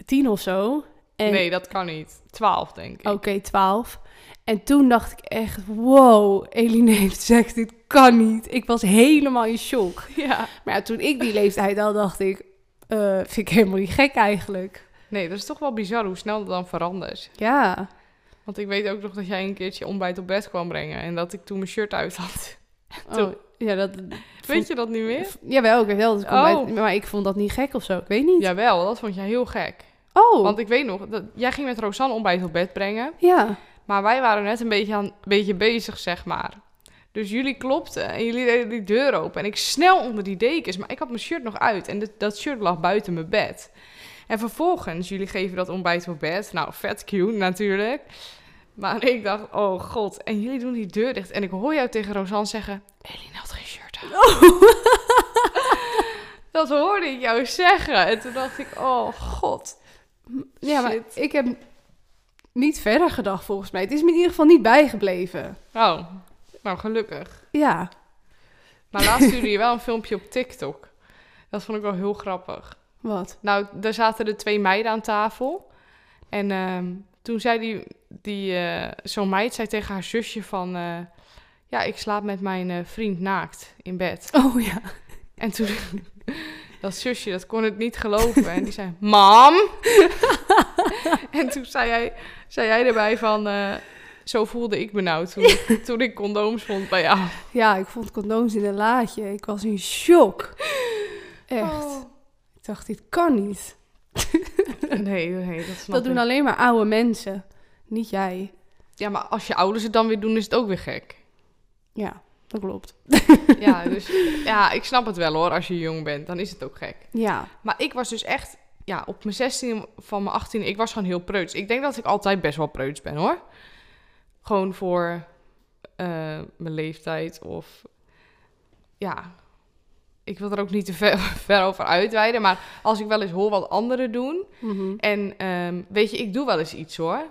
[SPEAKER 2] tien of zo. En,
[SPEAKER 1] Nee, dat kan niet. Twaalf, denk ik.
[SPEAKER 2] Oké, twaalf. En toen dacht ik echt, wow, Eline heeft seks, dit kan niet. Ik was helemaal in shock.
[SPEAKER 1] Ja.
[SPEAKER 2] Maar ja, toen ik die leeftijd al dacht ik, eh, vind ik helemaal niet gek eigenlijk.
[SPEAKER 1] Nee, dat is toch wel bizar hoe snel dat dan verandert.
[SPEAKER 2] Ja.
[SPEAKER 1] Want ik weet ook nog dat jij een keertje ontbijt op bed kwam brengen. En dat ik toen mijn shirt uit had.
[SPEAKER 2] Oh, ja, dat,
[SPEAKER 1] Weet je dat niet meer?
[SPEAKER 2] V- Jawel, ik weet wel dat ik
[SPEAKER 1] Oh.
[SPEAKER 2] ontbijt- maar ik vond dat niet gek of zo. Ik weet niet.
[SPEAKER 1] Jawel, dat vond jij heel gek.
[SPEAKER 2] Oh,
[SPEAKER 1] Want ik weet nog, dat, jij ging met Rosanne ontbijt op bed brengen.
[SPEAKER 2] ja.
[SPEAKER 1] Maar wij waren net een beetje, aan, een beetje bezig, zeg maar. Dus jullie klopten en jullie deden die deur open. En ik snel onder die dekens, maar ik had mijn shirt nog uit. En dit- dat shirt lag buiten mijn bed. En vervolgens, jullie geven dat ontbijt op bed. Nou, vet cute natuurlijk. Maar ik dacht, oh god. En jullie doen die deur dicht. En ik hoor jou tegen Rosanne zeggen... Eline had geen shirt aan. dat hoorde ik jou zeggen. En toen dacht ik, oh god.
[SPEAKER 2] Ja, maar
[SPEAKER 1] Shit.
[SPEAKER 2] ik heb niet verder gedacht volgens mij. Het is me in ieder geval niet bijgebleven.
[SPEAKER 1] Oh, nou gelukkig.
[SPEAKER 2] Ja.
[SPEAKER 1] Maar laatst stuurde je wel een filmpje op TikTok. Dat vond ik wel heel grappig.
[SPEAKER 2] Wat?
[SPEAKER 1] Nou, daar zaten de twee meiden aan tafel. En ehm, toen zei die, die eh, zo'n meid zei tegen haar zusje van... eh, ja, ik slaap met mijn eh, vriend naakt in bed.
[SPEAKER 2] Oh ja.
[SPEAKER 1] En toen, Dat zusje, dat kon het niet geloven. En die zei, mam! en toen zei jij, zei jij erbij van... eh, zo voelde ik me nou toen, ik- toen ik condooms vond bij jou.
[SPEAKER 2] Ja, ik vond condooms in een laadje. Ik was in shock. Echt.
[SPEAKER 1] Oh.
[SPEAKER 2] Ik dacht, dit kan niet.
[SPEAKER 1] Nee, nee, dat snap
[SPEAKER 2] Dat doen
[SPEAKER 1] ik.
[SPEAKER 2] alleen maar oude mensen. Niet jij.
[SPEAKER 1] Ja, maar als je ouders het dan weer doen, is het ook weer gek.
[SPEAKER 2] Ja, dat klopt.
[SPEAKER 1] Ja, dus ja, ik snap het wel hoor. Als je jong bent, dan is het ook gek.
[SPEAKER 2] Ja.
[SPEAKER 1] Maar ik was dus echt, ja, op mijn 16 van mijn 18, ik was gewoon heel preuts. Ik denk dat ik altijd best wel preuts ben hoor. Gewoon voor eh, mijn leeftijd of ja. Ik wil er ook niet te ver, ver over uitweiden. Maar als ik wel eens hoor wat anderen doen.
[SPEAKER 2] Mhm.
[SPEAKER 1] En ehm, weet je, ik doe wel eens iets hoor.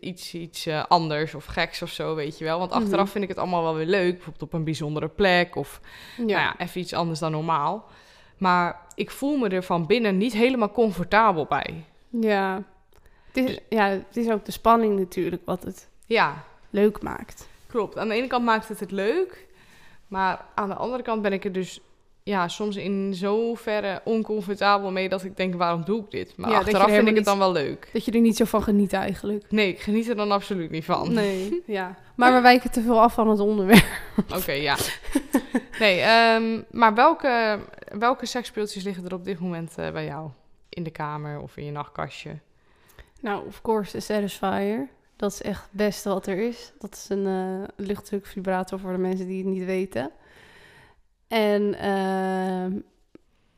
[SPEAKER 1] Iets, iets eh, anders of geks of zo, weet je wel. Want achteraf
[SPEAKER 2] Mhm.
[SPEAKER 1] vind ik het allemaal wel weer leuk. Bijvoorbeeld op een bijzondere plek of
[SPEAKER 2] Ja.
[SPEAKER 1] nou ja, even iets anders dan normaal. Maar ik voel me er van binnen niet helemaal comfortabel bij.
[SPEAKER 2] Ja. Het is, ja, het is ook de spanning natuurlijk wat het
[SPEAKER 1] Ja,
[SPEAKER 2] leuk maakt.
[SPEAKER 1] klopt. Aan de ene kant maakt het het leuk. Maar aan de andere kant ben ik er dus ja, soms in zoverre oncomfortabel mee dat ik denk, waarom doe ik dit? Maar
[SPEAKER 2] Ja, dat je er
[SPEAKER 1] achteraf vind ik
[SPEAKER 2] helemaal
[SPEAKER 1] het dan wel leuk.
[SPEAKER 2] Dat je er niet zo van geniet eigenlijk.
[SPEAKER 1] Nee, ik geniet er dan absoluut niet van.
[SPEAKER 2] Nee, ja. Maar we wijken te veel af van het onderwerp.
[SPEAKER 1] Oké, ja. Nee, ehm, maar welke, welke seksspeeltjes liggen er op dit moment eh, bij jou? In de kamer of in je nachtkastje?
[SPEAKER 2] Nou, of course, de Satisfier. Dat is echt het beste wat er is. Dat is een eh luchtdrukvibrator voor de mensen die het niet weten. En ehm,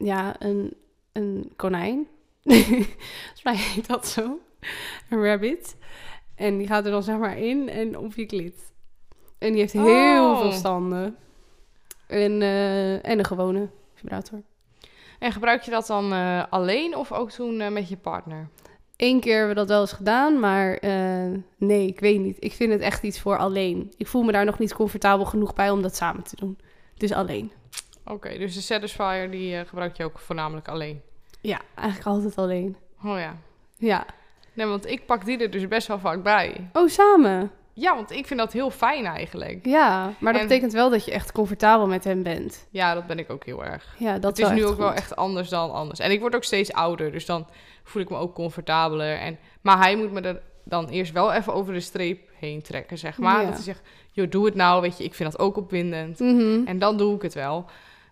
[SPEAKER 2] ja, een, een konijn. Volgens mij heet dat zo. Een rabbit. En die gaat er dan zeg maar in en op je klit. En die heeft heel
[SPEAKER 1] Oh.
[SPEAKER 2] veel standen. En, eh, en een gewone vibrator.
[SPEAKER 1] En gebruik je dat dan eh, alleen of ook toen eh, met je partner?
[SPEAKER 2] Eén keer hebben we dat wel eens gedaan, maar eh, nee, ik weet niet. Ik vind het echt iets voor alleen. Ik voel me daar nog niet comfortabel genoeg bij om dat samen te doen. Dus alleen.
[SPEAKER 1] Oké, dus de Satisfier die eh, gebruik je ook voornamelijk alleen.
[SPEAKER 2] Ja, eigenlijk altijd alleen.
[SPEAKER 1] Oh ja.
[SPEAKER 2] Ja.
[SPEAKER 1] Nee, want ik pak die er dus best wel vaak bij.
[SPEAKER 2] Oh, samen.
[SPEAKER 1] Ja, want ik vind dat heel fijn eigenlijk.
[SPEAKER 2] Ja, maar dat
[SPEAKER 1] En-
[SPEAKER 2] betekent wel dat je echt comfortabel met hem bent.
[SPEAKER 1] Ja, dat ben ik ook heel erg.
[SPEAKER 2] Ja, dat
[SPEAKER 1] het is
[SPEAKER 2] wel
[SPEAKER 1] nu ook
[SPEAKER 2] echt
[SPEAKER 1] wel
[SPEAKER 2] goed.
[SPEAKER 1] echt anders dan anders. En ik word ook steeds ouder, dus dan voel ik me ook comfortabeler. En, maar hij moet me er dan eerst wel even over de streep heen trekken, zeg maar.
[SPEAKER 2] Ja.
[SPEAKER 1] Dat hij zegt, joh, doe het nou, weet je, ik vind dat ook opwindend.
[SPEAKER 2] Mhm.
[SPEAKER 1] En dan doe ik het wel.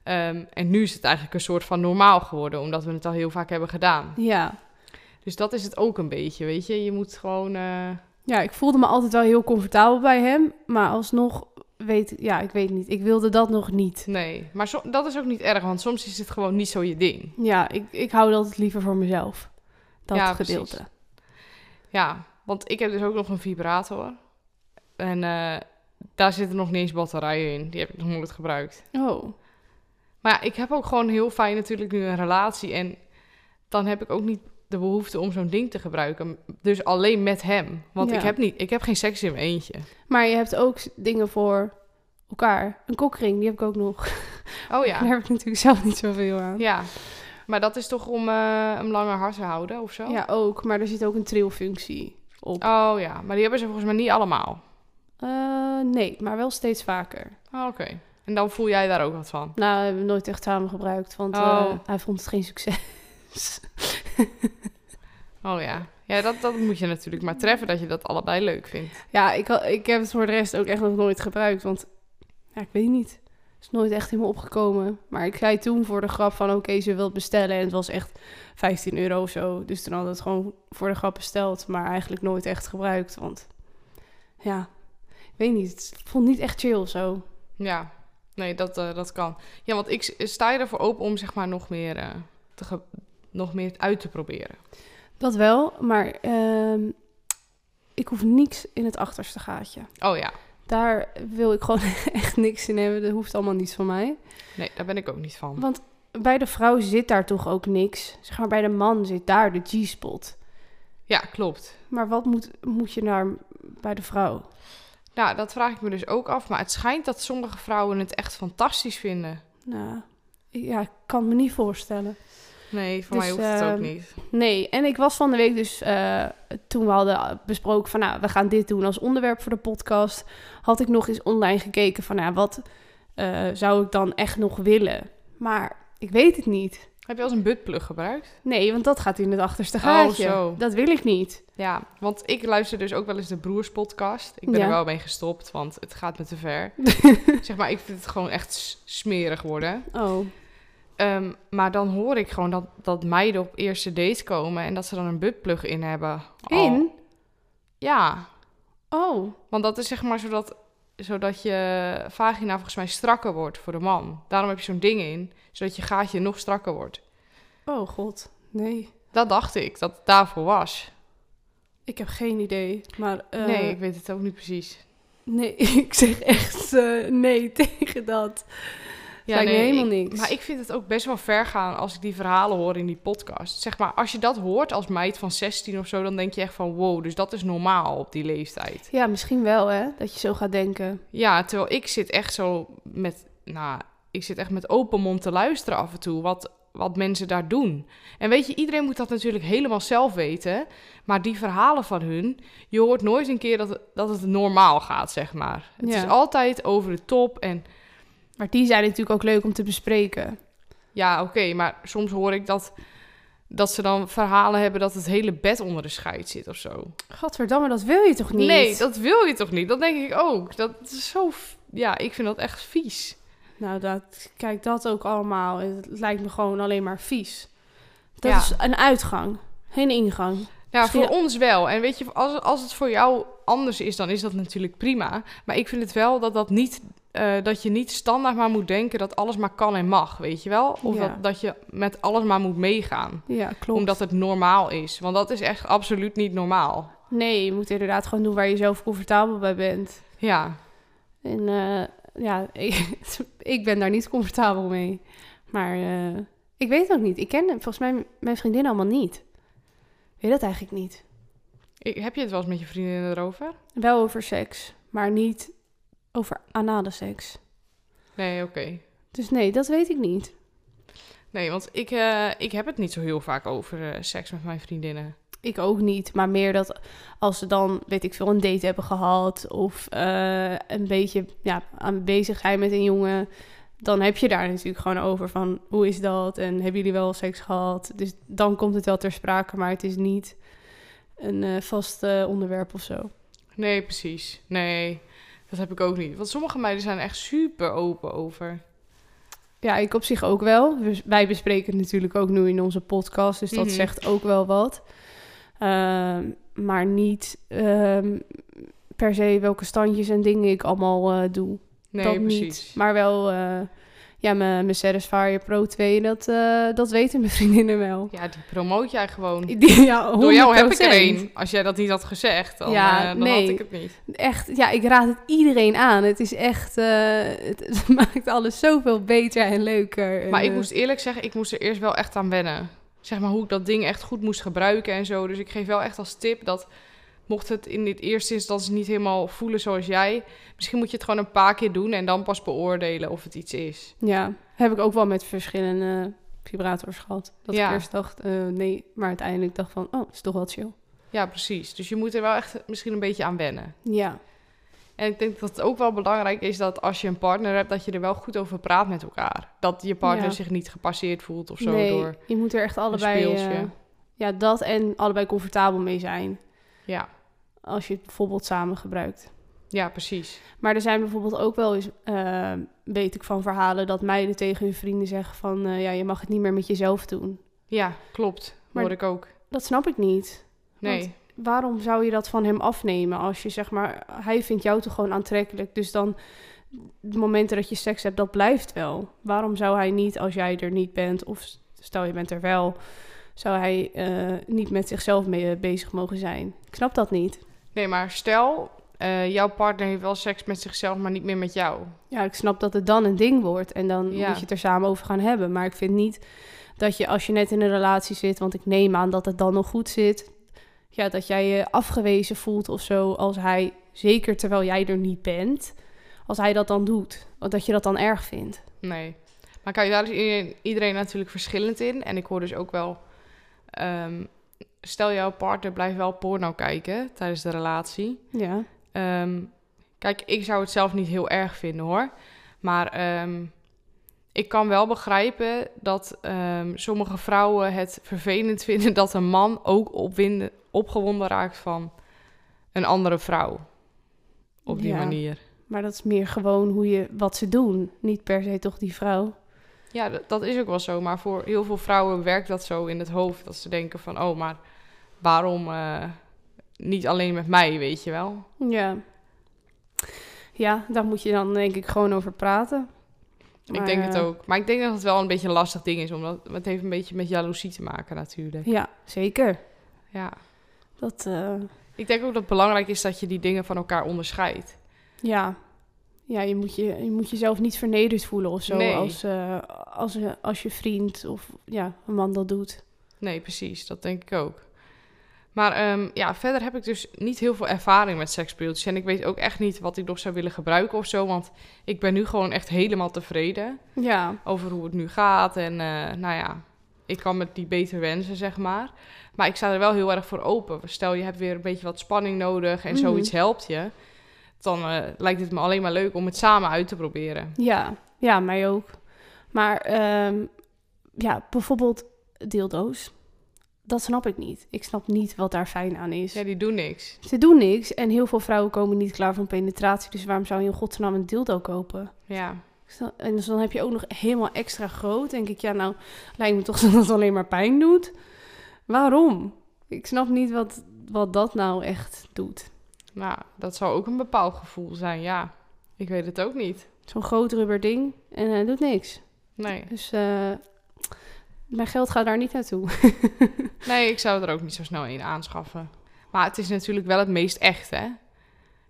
[SPEAKER 1] Ehm, en nu is het eigenlijk een soort van normaal geworden, omdat we het al heel vaak hebben gedaan.
[SPEAKER 2] Ja.
[SPEAKER 1] Dus dat is het ook een beetje, weet je. Je moet gewoon... eh,
[SPEAKER 2] ja, ik voelde me altijd wel heel comfortabel bij hem. Maar alsnog weet ja, ik weet niet. Ik wilde dat nog niet.
[SPEAKER 1] nee, maar so- dat is ook niet erg, want soms is het gewoon niet zo je ding.
[SPEAKER 2] Ja, ik, ik hou dat het liever voor mezelf. Dat
[SPEAKER 1] Ja, precies.
[SPEAKER 2] gedeelte.
[SPEAKER 1] Ja, want ik heb dus ook nog een vibrator. En eh, daar zitten nog niet eens batterijen in. Die heb ik nog nooit gebruikt.
[SPEAKER 2] Oh.
[SPEAKER 1] Maar ja, ik heb ook gewoon heel fijn natuurlijk nu een relatie. En dan heb ik ook niet de behoefte om zo'n ding te gebruiken. Dus alleen met hem. Want
[SPEAKER 2] Ja.
[SPEAKER 1] ik, heb niet, ik heb geen seks in mijn eentje.
[SPEAKER 2] Maar je hebt ook s- dingen voor elkaar. Een kokring, die heb ik ook nog.
[SPEAKER 1] Oh
[SPEAKER 2] Daar
[SPEAKER 1] ja.
[SPEAKER 2] heb ik natuurlijk zelf niet zoveel aan.
[SPEAKER 1] Ja. Maar dat is toch om eh, hem langer hard te houden of zo?
[SPEAKER 2] Ja, ook. Maar er zit ook een trilfunctie op.
[SPEAKER 1] Oh ja, maar die hebben ze volgens mij niet allemaal.
[SPEAKER 2] Eh, nee, maar wel steeds vaker.
[SPEAKER 1] Oh, Oké. En dan voel jij daar ook wat van?
[SPEAKER 2] Nou, we hebben hem nooit echt samen gebruikt, want eh,
[SPEAKER 1] Oh.
[SPEAKER 2] hij vond het geen succes.
[SPEAKER 1] Oh ja. Ja, dat, dat moet je natuurlijk maar treffen dat je dat allebei leuk vindt.
[SPEAKER 2] Ja, ik, ha- ik heb het voor de rest ook echt nog nooit gebruikt, want ja, ik weet niet. Het is nooit echt in me opgekomen. Maar ik zei toen voor de grap van oké, ze wil het bestellen. En het was echt 15 euro of zo. Dus toen hadden we het gewoon voor de grap besteld, maar eigenlijk nooit echt gebruikt. Want ja, ik weet niet. Het vond niet echt chill of zo.
[SPEAKER 1] Ja, nee, dat, eh, dat kan. Ja, want ik s- sta je ervoor open om zeg maar nog meer, eh, te ge- nog meer uit te proberen.
[SPEAKER 2] Dat wel, maar ehm, ik hoef niks in het achterste gaatje.
[SPEAKER 1] Oh ja,
[SPEAKER 2] Daar wil ik gewoon echt niks in hebben. Dat hoeft allemaal niets van mij.
[SPEAKER 1] nee, daar ben ik ook niet van.
[SPEAKER 2] Want bij de vrouw zit daar toch ook niks. Zeg maar bij de man zit daar de G-spot.
[SPEAKER 1] Ja, klopt.
[SPEAKER 2] Maar wat moet, moet je daar bij de vrouw?
[SPEAKER 1] Nou, dat vraag ik me dus ook af. Maar het schijnt dat sommige vrouwen het echt fantastisch vinden.
[SPEAKER 2] Nou, ik- ja, ik kan het me niet voorstellen.
[SPEAKER 1] Nee, voor
[SPEAKER 2] Dus,
[SPEAKER 1] mij hoeft het ook
[SPEAKER 2] ehm,
[SPEAKER 1] niet.
[SPEAKER 2] Nee, en ik was van de week dus, eh, toen we hadden besproken van, nou, we gaan dit doen als onderwerp voor de podcast, had ik nog eens online gekeken van, nou, wat eh, zou ik dan echt nog willen? Maar ik weet het niet.
[SPEAKER 1] Heb je als een buttplug gebruikt?
[SPEAKER 2] Nee, want dat gaat in het achterste
[SPEAKER 1] Oh,
[SPEAKER 2] gaatje.
[SPEAKER 1] zo.
[SPEAKER 2] Dat wil ik niet.
[SPEAKER 1] Ja, want ik luister dus ook wel eens de Broerspodcast. Ik ben
[SPEAKER 2] Ja.
[SPEAKER 1] er wel mee gestopt, want het gaat me te ver. zeg maar, ik vind het gewoon echt s- smerig worden.
[SPEAKER 2] Oh,
[SPEAKER 1] Ehm, maar dan hoor ik gewoon dat, dat meiden op eerste dates komen en dat ze dan een buttplug in hebben. Al-
[SPEAKER 2] in?
[SPEAKER 1] Ja,
[SPEAKER 2] Oh,
[SPEAKER 1] want dat is zeg maar zodat, zodat je vagina volgens mij strakker wordt voor de man. Daarom heb je zo'n ding in, zodat je gaatje nog strakker wordt.
[SPEAKER 2] oh god. Nee,
[SPEAKER 1] Dat dacht ik, dat het daarvoor was.
[SPEAKER 2] ik heb geen idee. Maar eh,
[SPEAKER 1] nee, ik weet het ook niet precies.
[SPEAKER 2] nee, ik zeg echt eh, nee tegen dat. Ja, lijkt me
[SPEAKER 1] nee,
[SPEAKER 2] helemaal
[SPEAKER 1] ik-
[SPEAKER 2] niks.
[SPEAKER 1] Maar ik vind het ook best wel ver gaan als ik die verhalen hoor in die podcast. Zeg maar, als je dat hoort als meid van 16 of zo, dan denk je echt van wow, dus dat is normaal op die leeftijd.
[SPEAKER 2] Ja, misschien wel hè, dat je zo gaat denken.
[SPEAKER 1] Ja, terwijl ik zit echt zo met, nou, ik zit echt met open mond te luisteren af en toe wat, wat mensen daar doen. En weet je, iedereen moet dat natuurlijk helemaal zelf weten. Maar die verhalen van hun, je hoort nooit een keer dat, het- dat het normaal gaat, zeg maar. Het
[SPEAKER 2] Ja.
[SPEAKER 1] is altijd over de top en
[SPEAKER 2] Maar die zijn natuurlijk ook leuk om te bespreken.
[SPEAKER 1] Ja, oké, maar soms hoor ik dat, dat ze dan verhalen hebben dat het hele bed onder de scheid zit of zo.
[SPEAKER 2] Gadverdamme, dat wil je toch niet?
[SPEAKER 1] Nee, dat wil je toch niet? Dat denk ik ook. Dat is zo... f- Ja, ik vind dat echt vies.
[SPEAKER 2] Nou, dat, kijk, dat ook allemaal. Het lijkt me gewoon alleen maar vies. Dat
[SPEAKER 1] Ja.
[SPEAKER 2] is een uitgang, geen ingang.
[SPEAKER 1] Ja,
[SPEAKER 2] Misschien-
[SPEAKER 1] voor ons wel. En weet je, als, als het voor jou anders is, dan is dat natuurlijk prima. Maar ik vind het wel dat, dat, niet, eh, dat je niet standaard maar moet denken dat alles maar kan en mag, weet je wel? Of
[SPEAKER 2] Ja.
[SPEAKER 1] dat, dat je met alles maar moet meegaan.
[SPEAKER 2] Ja, klopt.
[SPEAKER 1] Omdat het normaal is. Want dat is echt absoluut niet normaal.
[SPEAKER 2] Nee, je moet inderdaad gewoon doen waar je zelf comfortabel bij bent.
[SPEAKER 1] Ja,
[SPEAKER 2] En eh, ja, ik, ik ben daar niet comfortabel mee. Maar eh, ik weet het ook niet. Ik ken volgens mij mijn vriendin allemaal niet. Ik weet dat eigenlijk niet.
[SPEAKER 1] ik, heb je het wel eens met je vriendinnen erover?
[SPEAKER 2] Wel over seks, maar niet over anale seks.
[SPEAKER 1] Nee, oké.
[SPEAKER 2] Dus nee, dat weet ik niet.
[SPEAKER 1] Nee, want ik, eh, ik heb het niet zo heel vaak over eh, seks met mijn vriendinnen.
[SPEAKER 2] Ik ook niet, maar meer dat als ze dan, weet ik veel, een date hebben gehad... of eh, een beetje ja, aan bezig zijn met een jongen... dan heb je daar natuurlijk gewoon over van hoe is dat en hebben jullie wel seks gehad? Dus dan komt het wel ter sprake, maar het is niet een eh, vast eh, onderwerp of zo.
[SPEAKER 1] Nee, precies. Nee, dat heb ik ook niet. Want sommige meiden zijn er echt super open over.
[SPEAKER 2] Ja, ik op zich ook wel. Dus wij bespreken het natuurlijk ook nu in onze podcast, dus dat
[SPEAKER 1] Mhm.
[SPEAKER 2] zegt ook wel wat. Ehm, maar niet ehm, per se welke standjes en dingen ik allemaal eh, doe.
[SPEAKER 1] Nee,
[SPEAKER 2] dat
[SPEAKER 1] precies.
[SPEAKER 2] niet. Maar wel, eh, ja, mijn mijn Satisfyer Pro 2, dat, eh, dat weten mijn vriendinnen wel.
[SPEAKER 1] Ja, die promoot jij gewoon.
[SPEAKER 2] Die, ja,
[SPEAKER 1] Door jou heb ik er
[SPEAKER 2] 100%.
[SPEAKER 1] één. Als jij dat niet had gezegd, dan,
[SPEAKER 2] Ja,
[SPEAKER 1] eh, dan
[SPEAKER 2] nee.
[SPEAKER 1] had ik het niet.
[SPEAKER 2] Echt, ja, ik raad het iedereen aan. Het is echt, eh, het, het maakt alles zoveel beter en leuker. En,
[SPEAKER 1] Maar ik
[SPEAKER 2] eh,
[SPEAKER 1] moest eerlijk zeggen, ik moest er eerst wel echt aan wennen. Zeg maar hoe ik dat ding echt goed moest gebruiken en zo. Dus ik geef wel echt als tip dat mocht het in dit eerste instantie niet helemaal voelen zoals jij, misschien moet je het gewoon een paar keer doen en dan pas beoordelen of het iets is.
[SPEAKER 2] Ja, heb ik ook wel met verschillende vibrators gehad. Dat
[SPEAKER 1] Ja.
[SPEAKER 2] ik eerst dacht, eh, nee, maar uiteindelijk dacht van, oh, is toch wel chill.
[SPEAKER 1] Ja, precies. Dus je moet er wel echt misschien een beetje aan wennen.
[SPEAKER 2] Ja,
[SPEAKER 1] En ik denk dat het ook wel belangrijk is dat als je een partner hebt, dat je er wel goed over praat met elkaar. Dat je partner
[SPEAKER 2] Ja.
[SPEAKER 1] zich niet gepasseerd voelt of zo
[SPEAKER 2] nee,
[SPEAKER 1] door.
[SPEAKER 2] je moet er echt allebei...
[SPEAKER 1] speelsje.
[SPEAKER 2] eh, ja, dat en allebei comfortabel mee zijn.
[SPEAKER 1] Ja,
[SPEAKER 2] Als je het bijvoorbeeld samen gebruikt.
[SPEAKER 1] ja precies.
[SPEAKER 2] Maar er zijn bijvoorbeeld ook wel eens, eh, weet ik van verhalen, dat meiden tegen hun vrienden zeggen van, eh, ja, je mag het niet meer met jezelf doen.
[SPEAKER 1] Ja, klopt.
[SPEAKER 2] Maar-
[SPEAKER 1] Hoor ik ook.
[SPEAKER 2] Dat snap ik niet.
[SPEAKER 1] Nee.
[SPEAKER 2] Waarom zou je dat van hem afnemen als je zeg maar, hij vindt jou toch gewoon aantrekkelijk, dus dan de momenten dat je seks hebt, dat blijft wel. Waarom zou hij niet, als jij er niet bent, of stel je bent er wel, zou hij eh, niet met zichzelf mee eh, bezig mogen zijn? Ik snap dat niet.
[SPEAKER 1] Nee, maar stel, eh, jouw partner heeft wel seks met zichzelf, maar niet meer met jou.
[SPEAKER 2] Ja, ik snap dat het dan een ding wordt en dan
[SPEAKER 1] Ja.
[SPEAKER 2] moet je het er samen over gaan hebben. Maar ik vind niet dat je als je net in een relatie zit, want ik neem aan dat het dan nog goed zit, ja, dat jij je afgewezen voelt of zo als hij, zeker terwijl jij er niet bent, als hij dat dan doet, dat je dat dan erg vindt.
[SPEAKER 1] Nee. Maar kan je daar is iedereen, iedereen natuurlijk verschillend in. En ik hoor dus ook wel. ehm, stel, jouw partner blijft wel porno kijken tijdens de relatie.
[SPEAKER 2] Ja,
[SPEAKER 1] Ehm, kijk, ik zou het zelf niet heel erg vinden hoor. Maar ehm, ik kan wel begrijpen dat ehm, sommige vrouwen het vervelend vinden dat een man ook opwinden, opgewonden raakt van een andere vrouw. Op die
[SPEAKER 2] Ja.
[SPEAKER 1] manier.
[SPEAKER 2] Maar dat is meer gewoon hoe je, wat ze doen. Niet per se toch die vrouw.
[SPEAKER 1] Ja, dat, dat is ook wel zo. Maar voor heel veel vrouwen werkt dat zo in het hoofd. Dat ze denken van, oh, maar waarom eh, niet alleen met mij, weet je wel?
[SPEAKER 2] Ja. Ja, daar moet je dan denk ik gewoon over praten.
[SPEAKER 1] ik
[SPEAKER 2] Maar,
[SPEAKER 1] denk het
[SPEAKER 2] eh,
[SPEAKER 1] ook. Maar ik denk dat het wel een beetje een lastig ding is. Omdat het heeft een beetje met jaloezie te maken natuurlijk.
[SPEAKER 2] Ja, zeker.
[SPEAKER 1] Ja.
[SPEAKER 2] Dat, eh,
[SPEAKER 1] Ik denk ook dat het belangrijk is dat je die dingen van elkaar onderscheidt.
[SPEAKER 2] ja. Ja, je moet, je, je moet jezelf niet vernederd voelen of zo.
[SPEAKER 1] Nee.
[SPEAKER 2] Als, eh, als, eh, als je vriend of ja, een man dat doet.
[SPEAKER 1] Nee, precies. Dat denk ik ook. Maar ehm, ja, verder heb ik dus niet heel veel ervaring met sekspeeltjes. En ik weet ook echt niet wat ik nog zou willen gebruiken of zo. Want ik ben nu gewoon echt helemaal tevreden
[SPEAKER 2] Ja.
[SPEAKER 1] over hoe het nu gaat. En eh, nou ja, ik kan me die beter wensen, zeg maar. Maar ik sta er wel heel erg voor open. Stel, je hebt weer een beetje wat spanning nodig en
[SPEAKER 2] Mhm.
[SPEAKER 1] zoiets helpt je. Dan eh, lijkt het me alleen maar leuk om het samen uit te proberen.
[SPEAKER 2] Ja, ja, mij ook. Maar ehm, ja, bijvoorbeeld dildo's. Dat snap ik niet. Ik snap niet wat daar fijn aan
[SPEAKER 1] Dus
[SPEAKER 2] is.
[SPEAKER 1] Ja, die doen niks.
[SPEAKER 2] Ze doen niks en heel veel vrouwen komen niet klaar van penetratie. Dus waarom zou je in godsnaam een dildo kopen?
[SPEAKER 1] Ja.
[SPEAKER 2] Ik snap- En dus dan heb je ook nog helemaal extra groot. Denk ik, ja, nou lijkt me toch dat het alleen maar pijn doet. Waarom? Ik snap niet wat, wat dat nou echt doet.
[SPEAKER 1] Nou, dat zou ook een bepaald gevoel zijn, ja. Ik weet het ook niet.
[SPEAKER 2] Zo'n groot rubber ding en hij doet niks.
[SPEAKER 1] Nee.
[SPEAKER 2] Dus eh, mijn geld gaat daar niet naartoe.
[SPEAKER 1] nee, ik zou er ook niet zo snel een aanschaffen. Maar het is natuurlijk wel het meest echt, hè?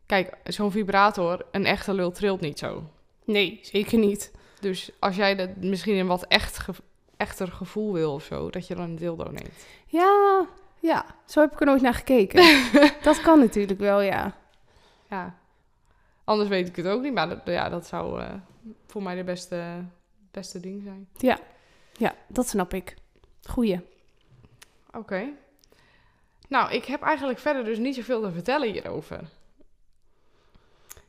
[SPEAKER 1] Kijk, zo'n vibrator, een echte lul trilt niet zo.
[SPEAKER 2] Nee, zeker niet.
[SPEAKER 1] Dus als jij dat misschien een wat echt ge- echter gevoel wil of zo, dat je dan een dildo neemt.
[SPEAKER 2] Ja, ja, zo heb ik er nooit naar gekeken. dat kan natuurlijk wel, ja.
[SPEAKER 1] Ja. Anders weet ik het ook niet, maar dat, ja, dat zou eh, voor mij de beste, beste ding zijn.
[SPEAKER 2] Ja, dat snap ik. Goeie.
[SPEAKER 1] Oké. Nou, ik heb eigenlijk verder dus niet zoveel te vertellen hierover.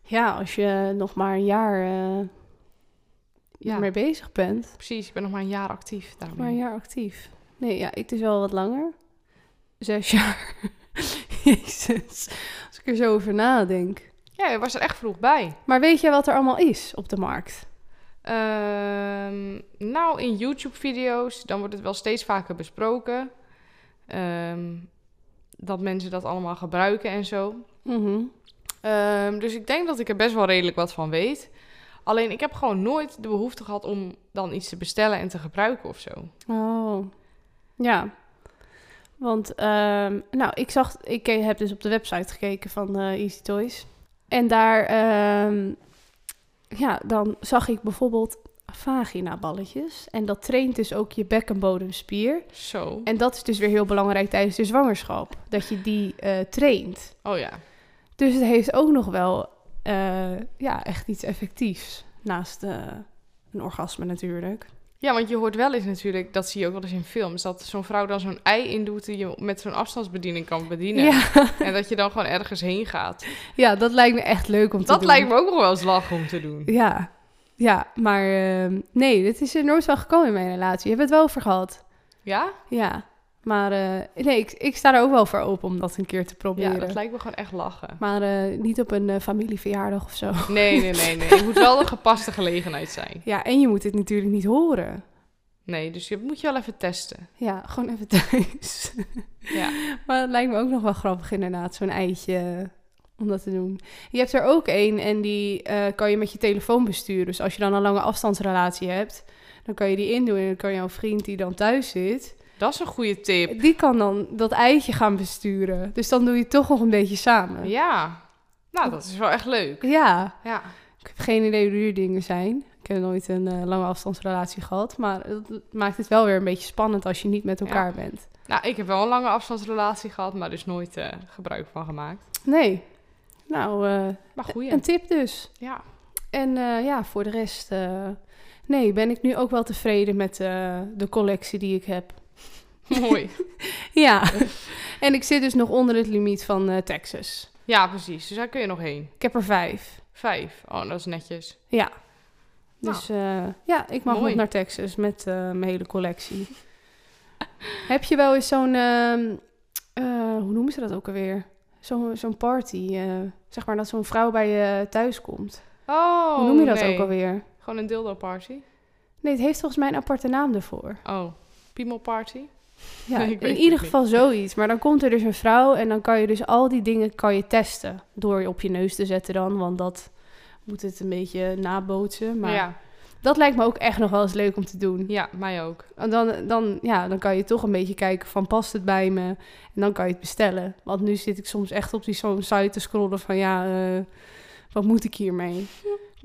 [SPEAKER 2] Ja, als je nog maar een jaar eh
[SPEAKER 1] Ja.
[SPEAKER 2] mee bezig bent.
[SPEAKER 1] Precies, ik ben nog maar een jaar actief daarmee.
[SPEAKER 2] Maar een jaar actief. Nee, ja, ik dus wel wat langer. Zes jaar. Jezus. Als ik er zo over nadenk.
[SPEAKER 1] Ja, je was er echt vroeg bij.
[SPEAKER 2] Maar weet jij wat er allemaal is op de markt?
[SPEAKER 1] Ehm, nou, in YouTube-video's, dan wordt het wel steeds vaker besproken. Ehm, dat mensen dat allemaal gebruiken en zo.
[SPEAKER 2] Mhm.
[SPEAKER 1] Ehm, dus ik denk dat ik er best wel redelijk wat van weet. Alleen ik heb gewoon nooit de behoefte gehad om dan iets te bestellen en te gebruiken of zo.
[SPEAKER 2] Oh, ja. Want, ehm, nou, ik zag, ik ke- heb dus op de website gekeken van eh, Easy Toys. En daar, ehm, ja, dan zag ik bijvoorbeeld vaginaballetjes. En dat traint dus ook je bekkenbodemspier.
[SPEAKER 1] Zo.
[SPEAKER 2] En dat is dus weer heel belangrijk tijdens de zwangerschap, dat je die eh, traint.
[SPEAKER 1] Oh ja.
[SPEAKER 2] Dus het heeft ook nog wel, eh, ja, echt iets effectiefs. Naast eh, een orgasme natuurlijk.
[SPEAKER 1] Ja, want je hoort wel eens natuurlijk, dat zie je ook wel eens in films, dat zo'n vrouw dan zo'n ei indoet die je met zo'n afstandsbediening kan bedienen. En dat je dan gewoon ergens heen gaat.
[SPEAKER 2] Ja, dat lijkt me echt leuk om te
[SPEAKER 1] Dat
[SPEAKER 2] doen.
[SPEAKER 1] lijkt me ook nog wel eens lachen om te doen.
[SPEAKER 2] Ja, ja maar ehm, nee, dit is er nooit van gekomen in mijn relatie. Je hebt het wel over gehad.
[SPEAKER 1] Ja?
[SPEAKER 2] Ja, maar eh, nee, ik, ik sta er ook wel voor open om dat een keer te
[SPEAKER 1] Ja,
[SPEAKER 2] proberen.
[SPEAKER 1] dat lijkt me gewoon echt lachen.
[SPEAKER 2] Maar eh, niet op een eh, familieverjaardag of zo.
[SPEAKER 1] Nee, nee, nee, nee. Het moet wel een gepaste gelegenheid zijn.
[SPEAKER 2] Ja, en je moet het natuurlijk niet horen.
[SPEAKER 1] Nee, dus je moet je wel even testen.
[SPEAKER 2] Ja, gewoon even thuis.
[SPEAKER 1] Ja.
[SPEAKER 2] Maar het lijkt me ook nog wel grappig inderdaad, zo'n eitje om dat te doen. Je hebt er ook één en die eh, kan je met je telefoon besturen. Dus als je dan een lange afstandsrelatie hebt, dan kan je die indoen. En dan kan jouw vriend die dan thuis zit,
[SPEAKER 1] Dat is een goede tip.
[SPEAKER 2] Die kan dan dat eitje gaan besturen. Dus dan doe je het toch nog een beetje samen.
[SPEAKER 1] Ja. Nou, dat is wel echt leuk.
[SPEAKER 2] Ja.
[SPEAKER 1] Ja.
[SPEAKER 2] Ik heb geen idee hoe duur dingen zijn. Ik heb nooit een eh, lange afstandsrelatie gehad. Maar dat maakt het wel weer een beetje spannend als je niet met elkaar bent.
[SPEAKER 1] Nou, ik heb wel een lange afstandsrelatie gehad, maar dus nooit eh, gebruik van gemaakt.
[SPEAKER 2] Nee. Nou, eh,
[SPEAKER 1] Maar goeie.
[SPEAKER 2] een tip dus.
[SPEAKER 1] Ja.
[SPEAKER 2] En eh, ja, voor de rest... eh, nee, ben ik nu ook wel tevreden met eh, de collectie die ik heb.
[SPEAKER 1] Mooi.
[SPEAKER 2] Ja. en ik zit dus nog onder het limiet van eh, Texas.
[SPEAKER 1] Ja, precies. Dus daar kun je nog heen.
[SPEAKER 2] Ik heb er vijf.
[SPEAKER 1] Vijf. Oh, dat is netjes.
[SPEAKER 2] Ja. Dus eh, ja, ik mag
[SPEAKER 1] Mooi.
[SPEAKER 2] nog naar Texas met eh, mijn hele collectie. Heb je wel eens zo'n, ehm, eh, hoe noemen ze dat ook alweer? Zo'n zo'n party, eh, zeg maar dat zo'n vrouw bij je thuis komt.
[SPEAKER 1] Oh,
[SPEAKER 2] hoe noem je dat
[SPEAKER 1] nee.
[SPEAKER 2] ook alweer?
[SPEAKER 1] Gewoon een dildo party.
[SPEAKER 2] Nee, het heeft volgens mij een aparte naam daarvoor.
[SPEAKER 1] Oh, piemel party.
[SPEAKER 2] Ja,
[SPEAKER 1] Ik weet het
[SPEAKER 2] in ieder
[SPEAKER 1] niet.
[SPEAKER 2] geval zoiets. Maar dan komt er dus een vrouw en dan kan je dus al die dingen kan je testen. Door je op je neus te zetten dan, want dat moet het een beetje nabootsen. Maar
[SPEAKER 1] Ja,
[SPEAKER 2] dat lijkt me ook echt nog wel eens leuk om te doen.
[SPEAKER 1] ja, mij ook.
[SPEAKER 2] En Dan, dan, ja, dan kan je toch een beetje kijken van past het bij me? En dan kan je het bestellen. Want nu zit ik soms echt op die zo'n site te scrollen van ja, eh, wat moet ik hiermee?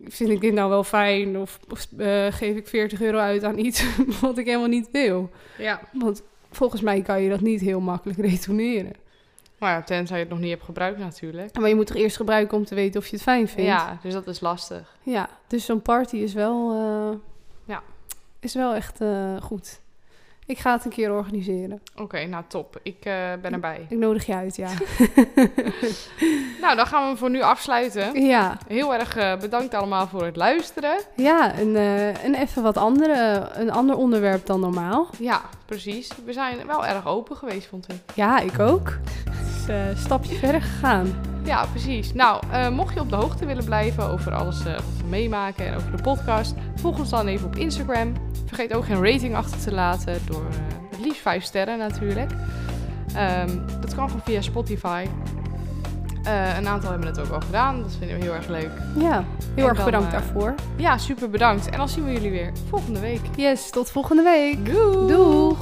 [SPEAKER 2] Vind ik dit nou wel fijn? Of, of, eh, geef ik 40 euro uit aan iets wat ik helemaal niet wil?
[SPEAKER 1] Ja.
[SPEAKER 2] Want volgens mij kan je dat niet heel makkelijk retourneren.
[SPEAKER 1] Maar ja, tenzij je het nog niet hebt gebruikt natuurlijk.
[SPEAKER 2] Maar je moet toch eerst gebruiken om te weten of je het fijn vindt?
[SPEAKER 1] Ja, dus dat is lastig.
[SPEAKER 2] Ja, dus zo'n party is wel, eh,
[SPEAKER 1] Ja.
[SPEAKER 2] is wel echt eh, goed. Ik ga het een keer organiseren.
[SPEAKER 1] Oké, nou top. Ik eh, ben erbij.
[SPEAKER 2] Ik nodig je uit, ja.
[SPEAKER 1] Nou, dan gaan we hem voor nu afsluiten.
[SPEAKER 2] ja,
[SPEAKER 1] Heel erg eh, bedankt allemaal voor het luisteren.
[SPEAKER 2] ja een, eh, een even wat andere, een ander onderwerp dan normaal.
[SPEAKER 1] Ja, precies. We zijn wel erg open geweest, vond ik.
[SPEAKER 2] Ja, ik ook. Het is eh, een stapje verder gegaan.
[SPEAKER 1] Ja, precies. Nou, eh, mocht je op de hoogte willen blijven over alles eh, wat we meemaken en over de podcast, volg ons dan even op Instagram. Vergeet ook geen rating achter te laten door eh, het liefst 5 sterren natuurlijk. Ehm, dat kan gewoon via Spotify. Eh, een aantal hebben het ook al gedaan. Dat vinden we heel erg leuk.
[SPEAKER 2] Ja, heel
[SPEAKER 1] En
[SPEAKER 2] erg
[SPEAKER 1] dan,
[SPEAKER 2] bedankt
[SPEAKER 1] eh,
[SPEAKER 2] daarvoor.
[SPEAKER 1] Ja, super bedankt. En dan zien we jullie weer volgende week.
[SPEAKER 2] Yes, tot volgende week.
[SPEAKER 1] Doei!
[SPEAKER 2] Doeg!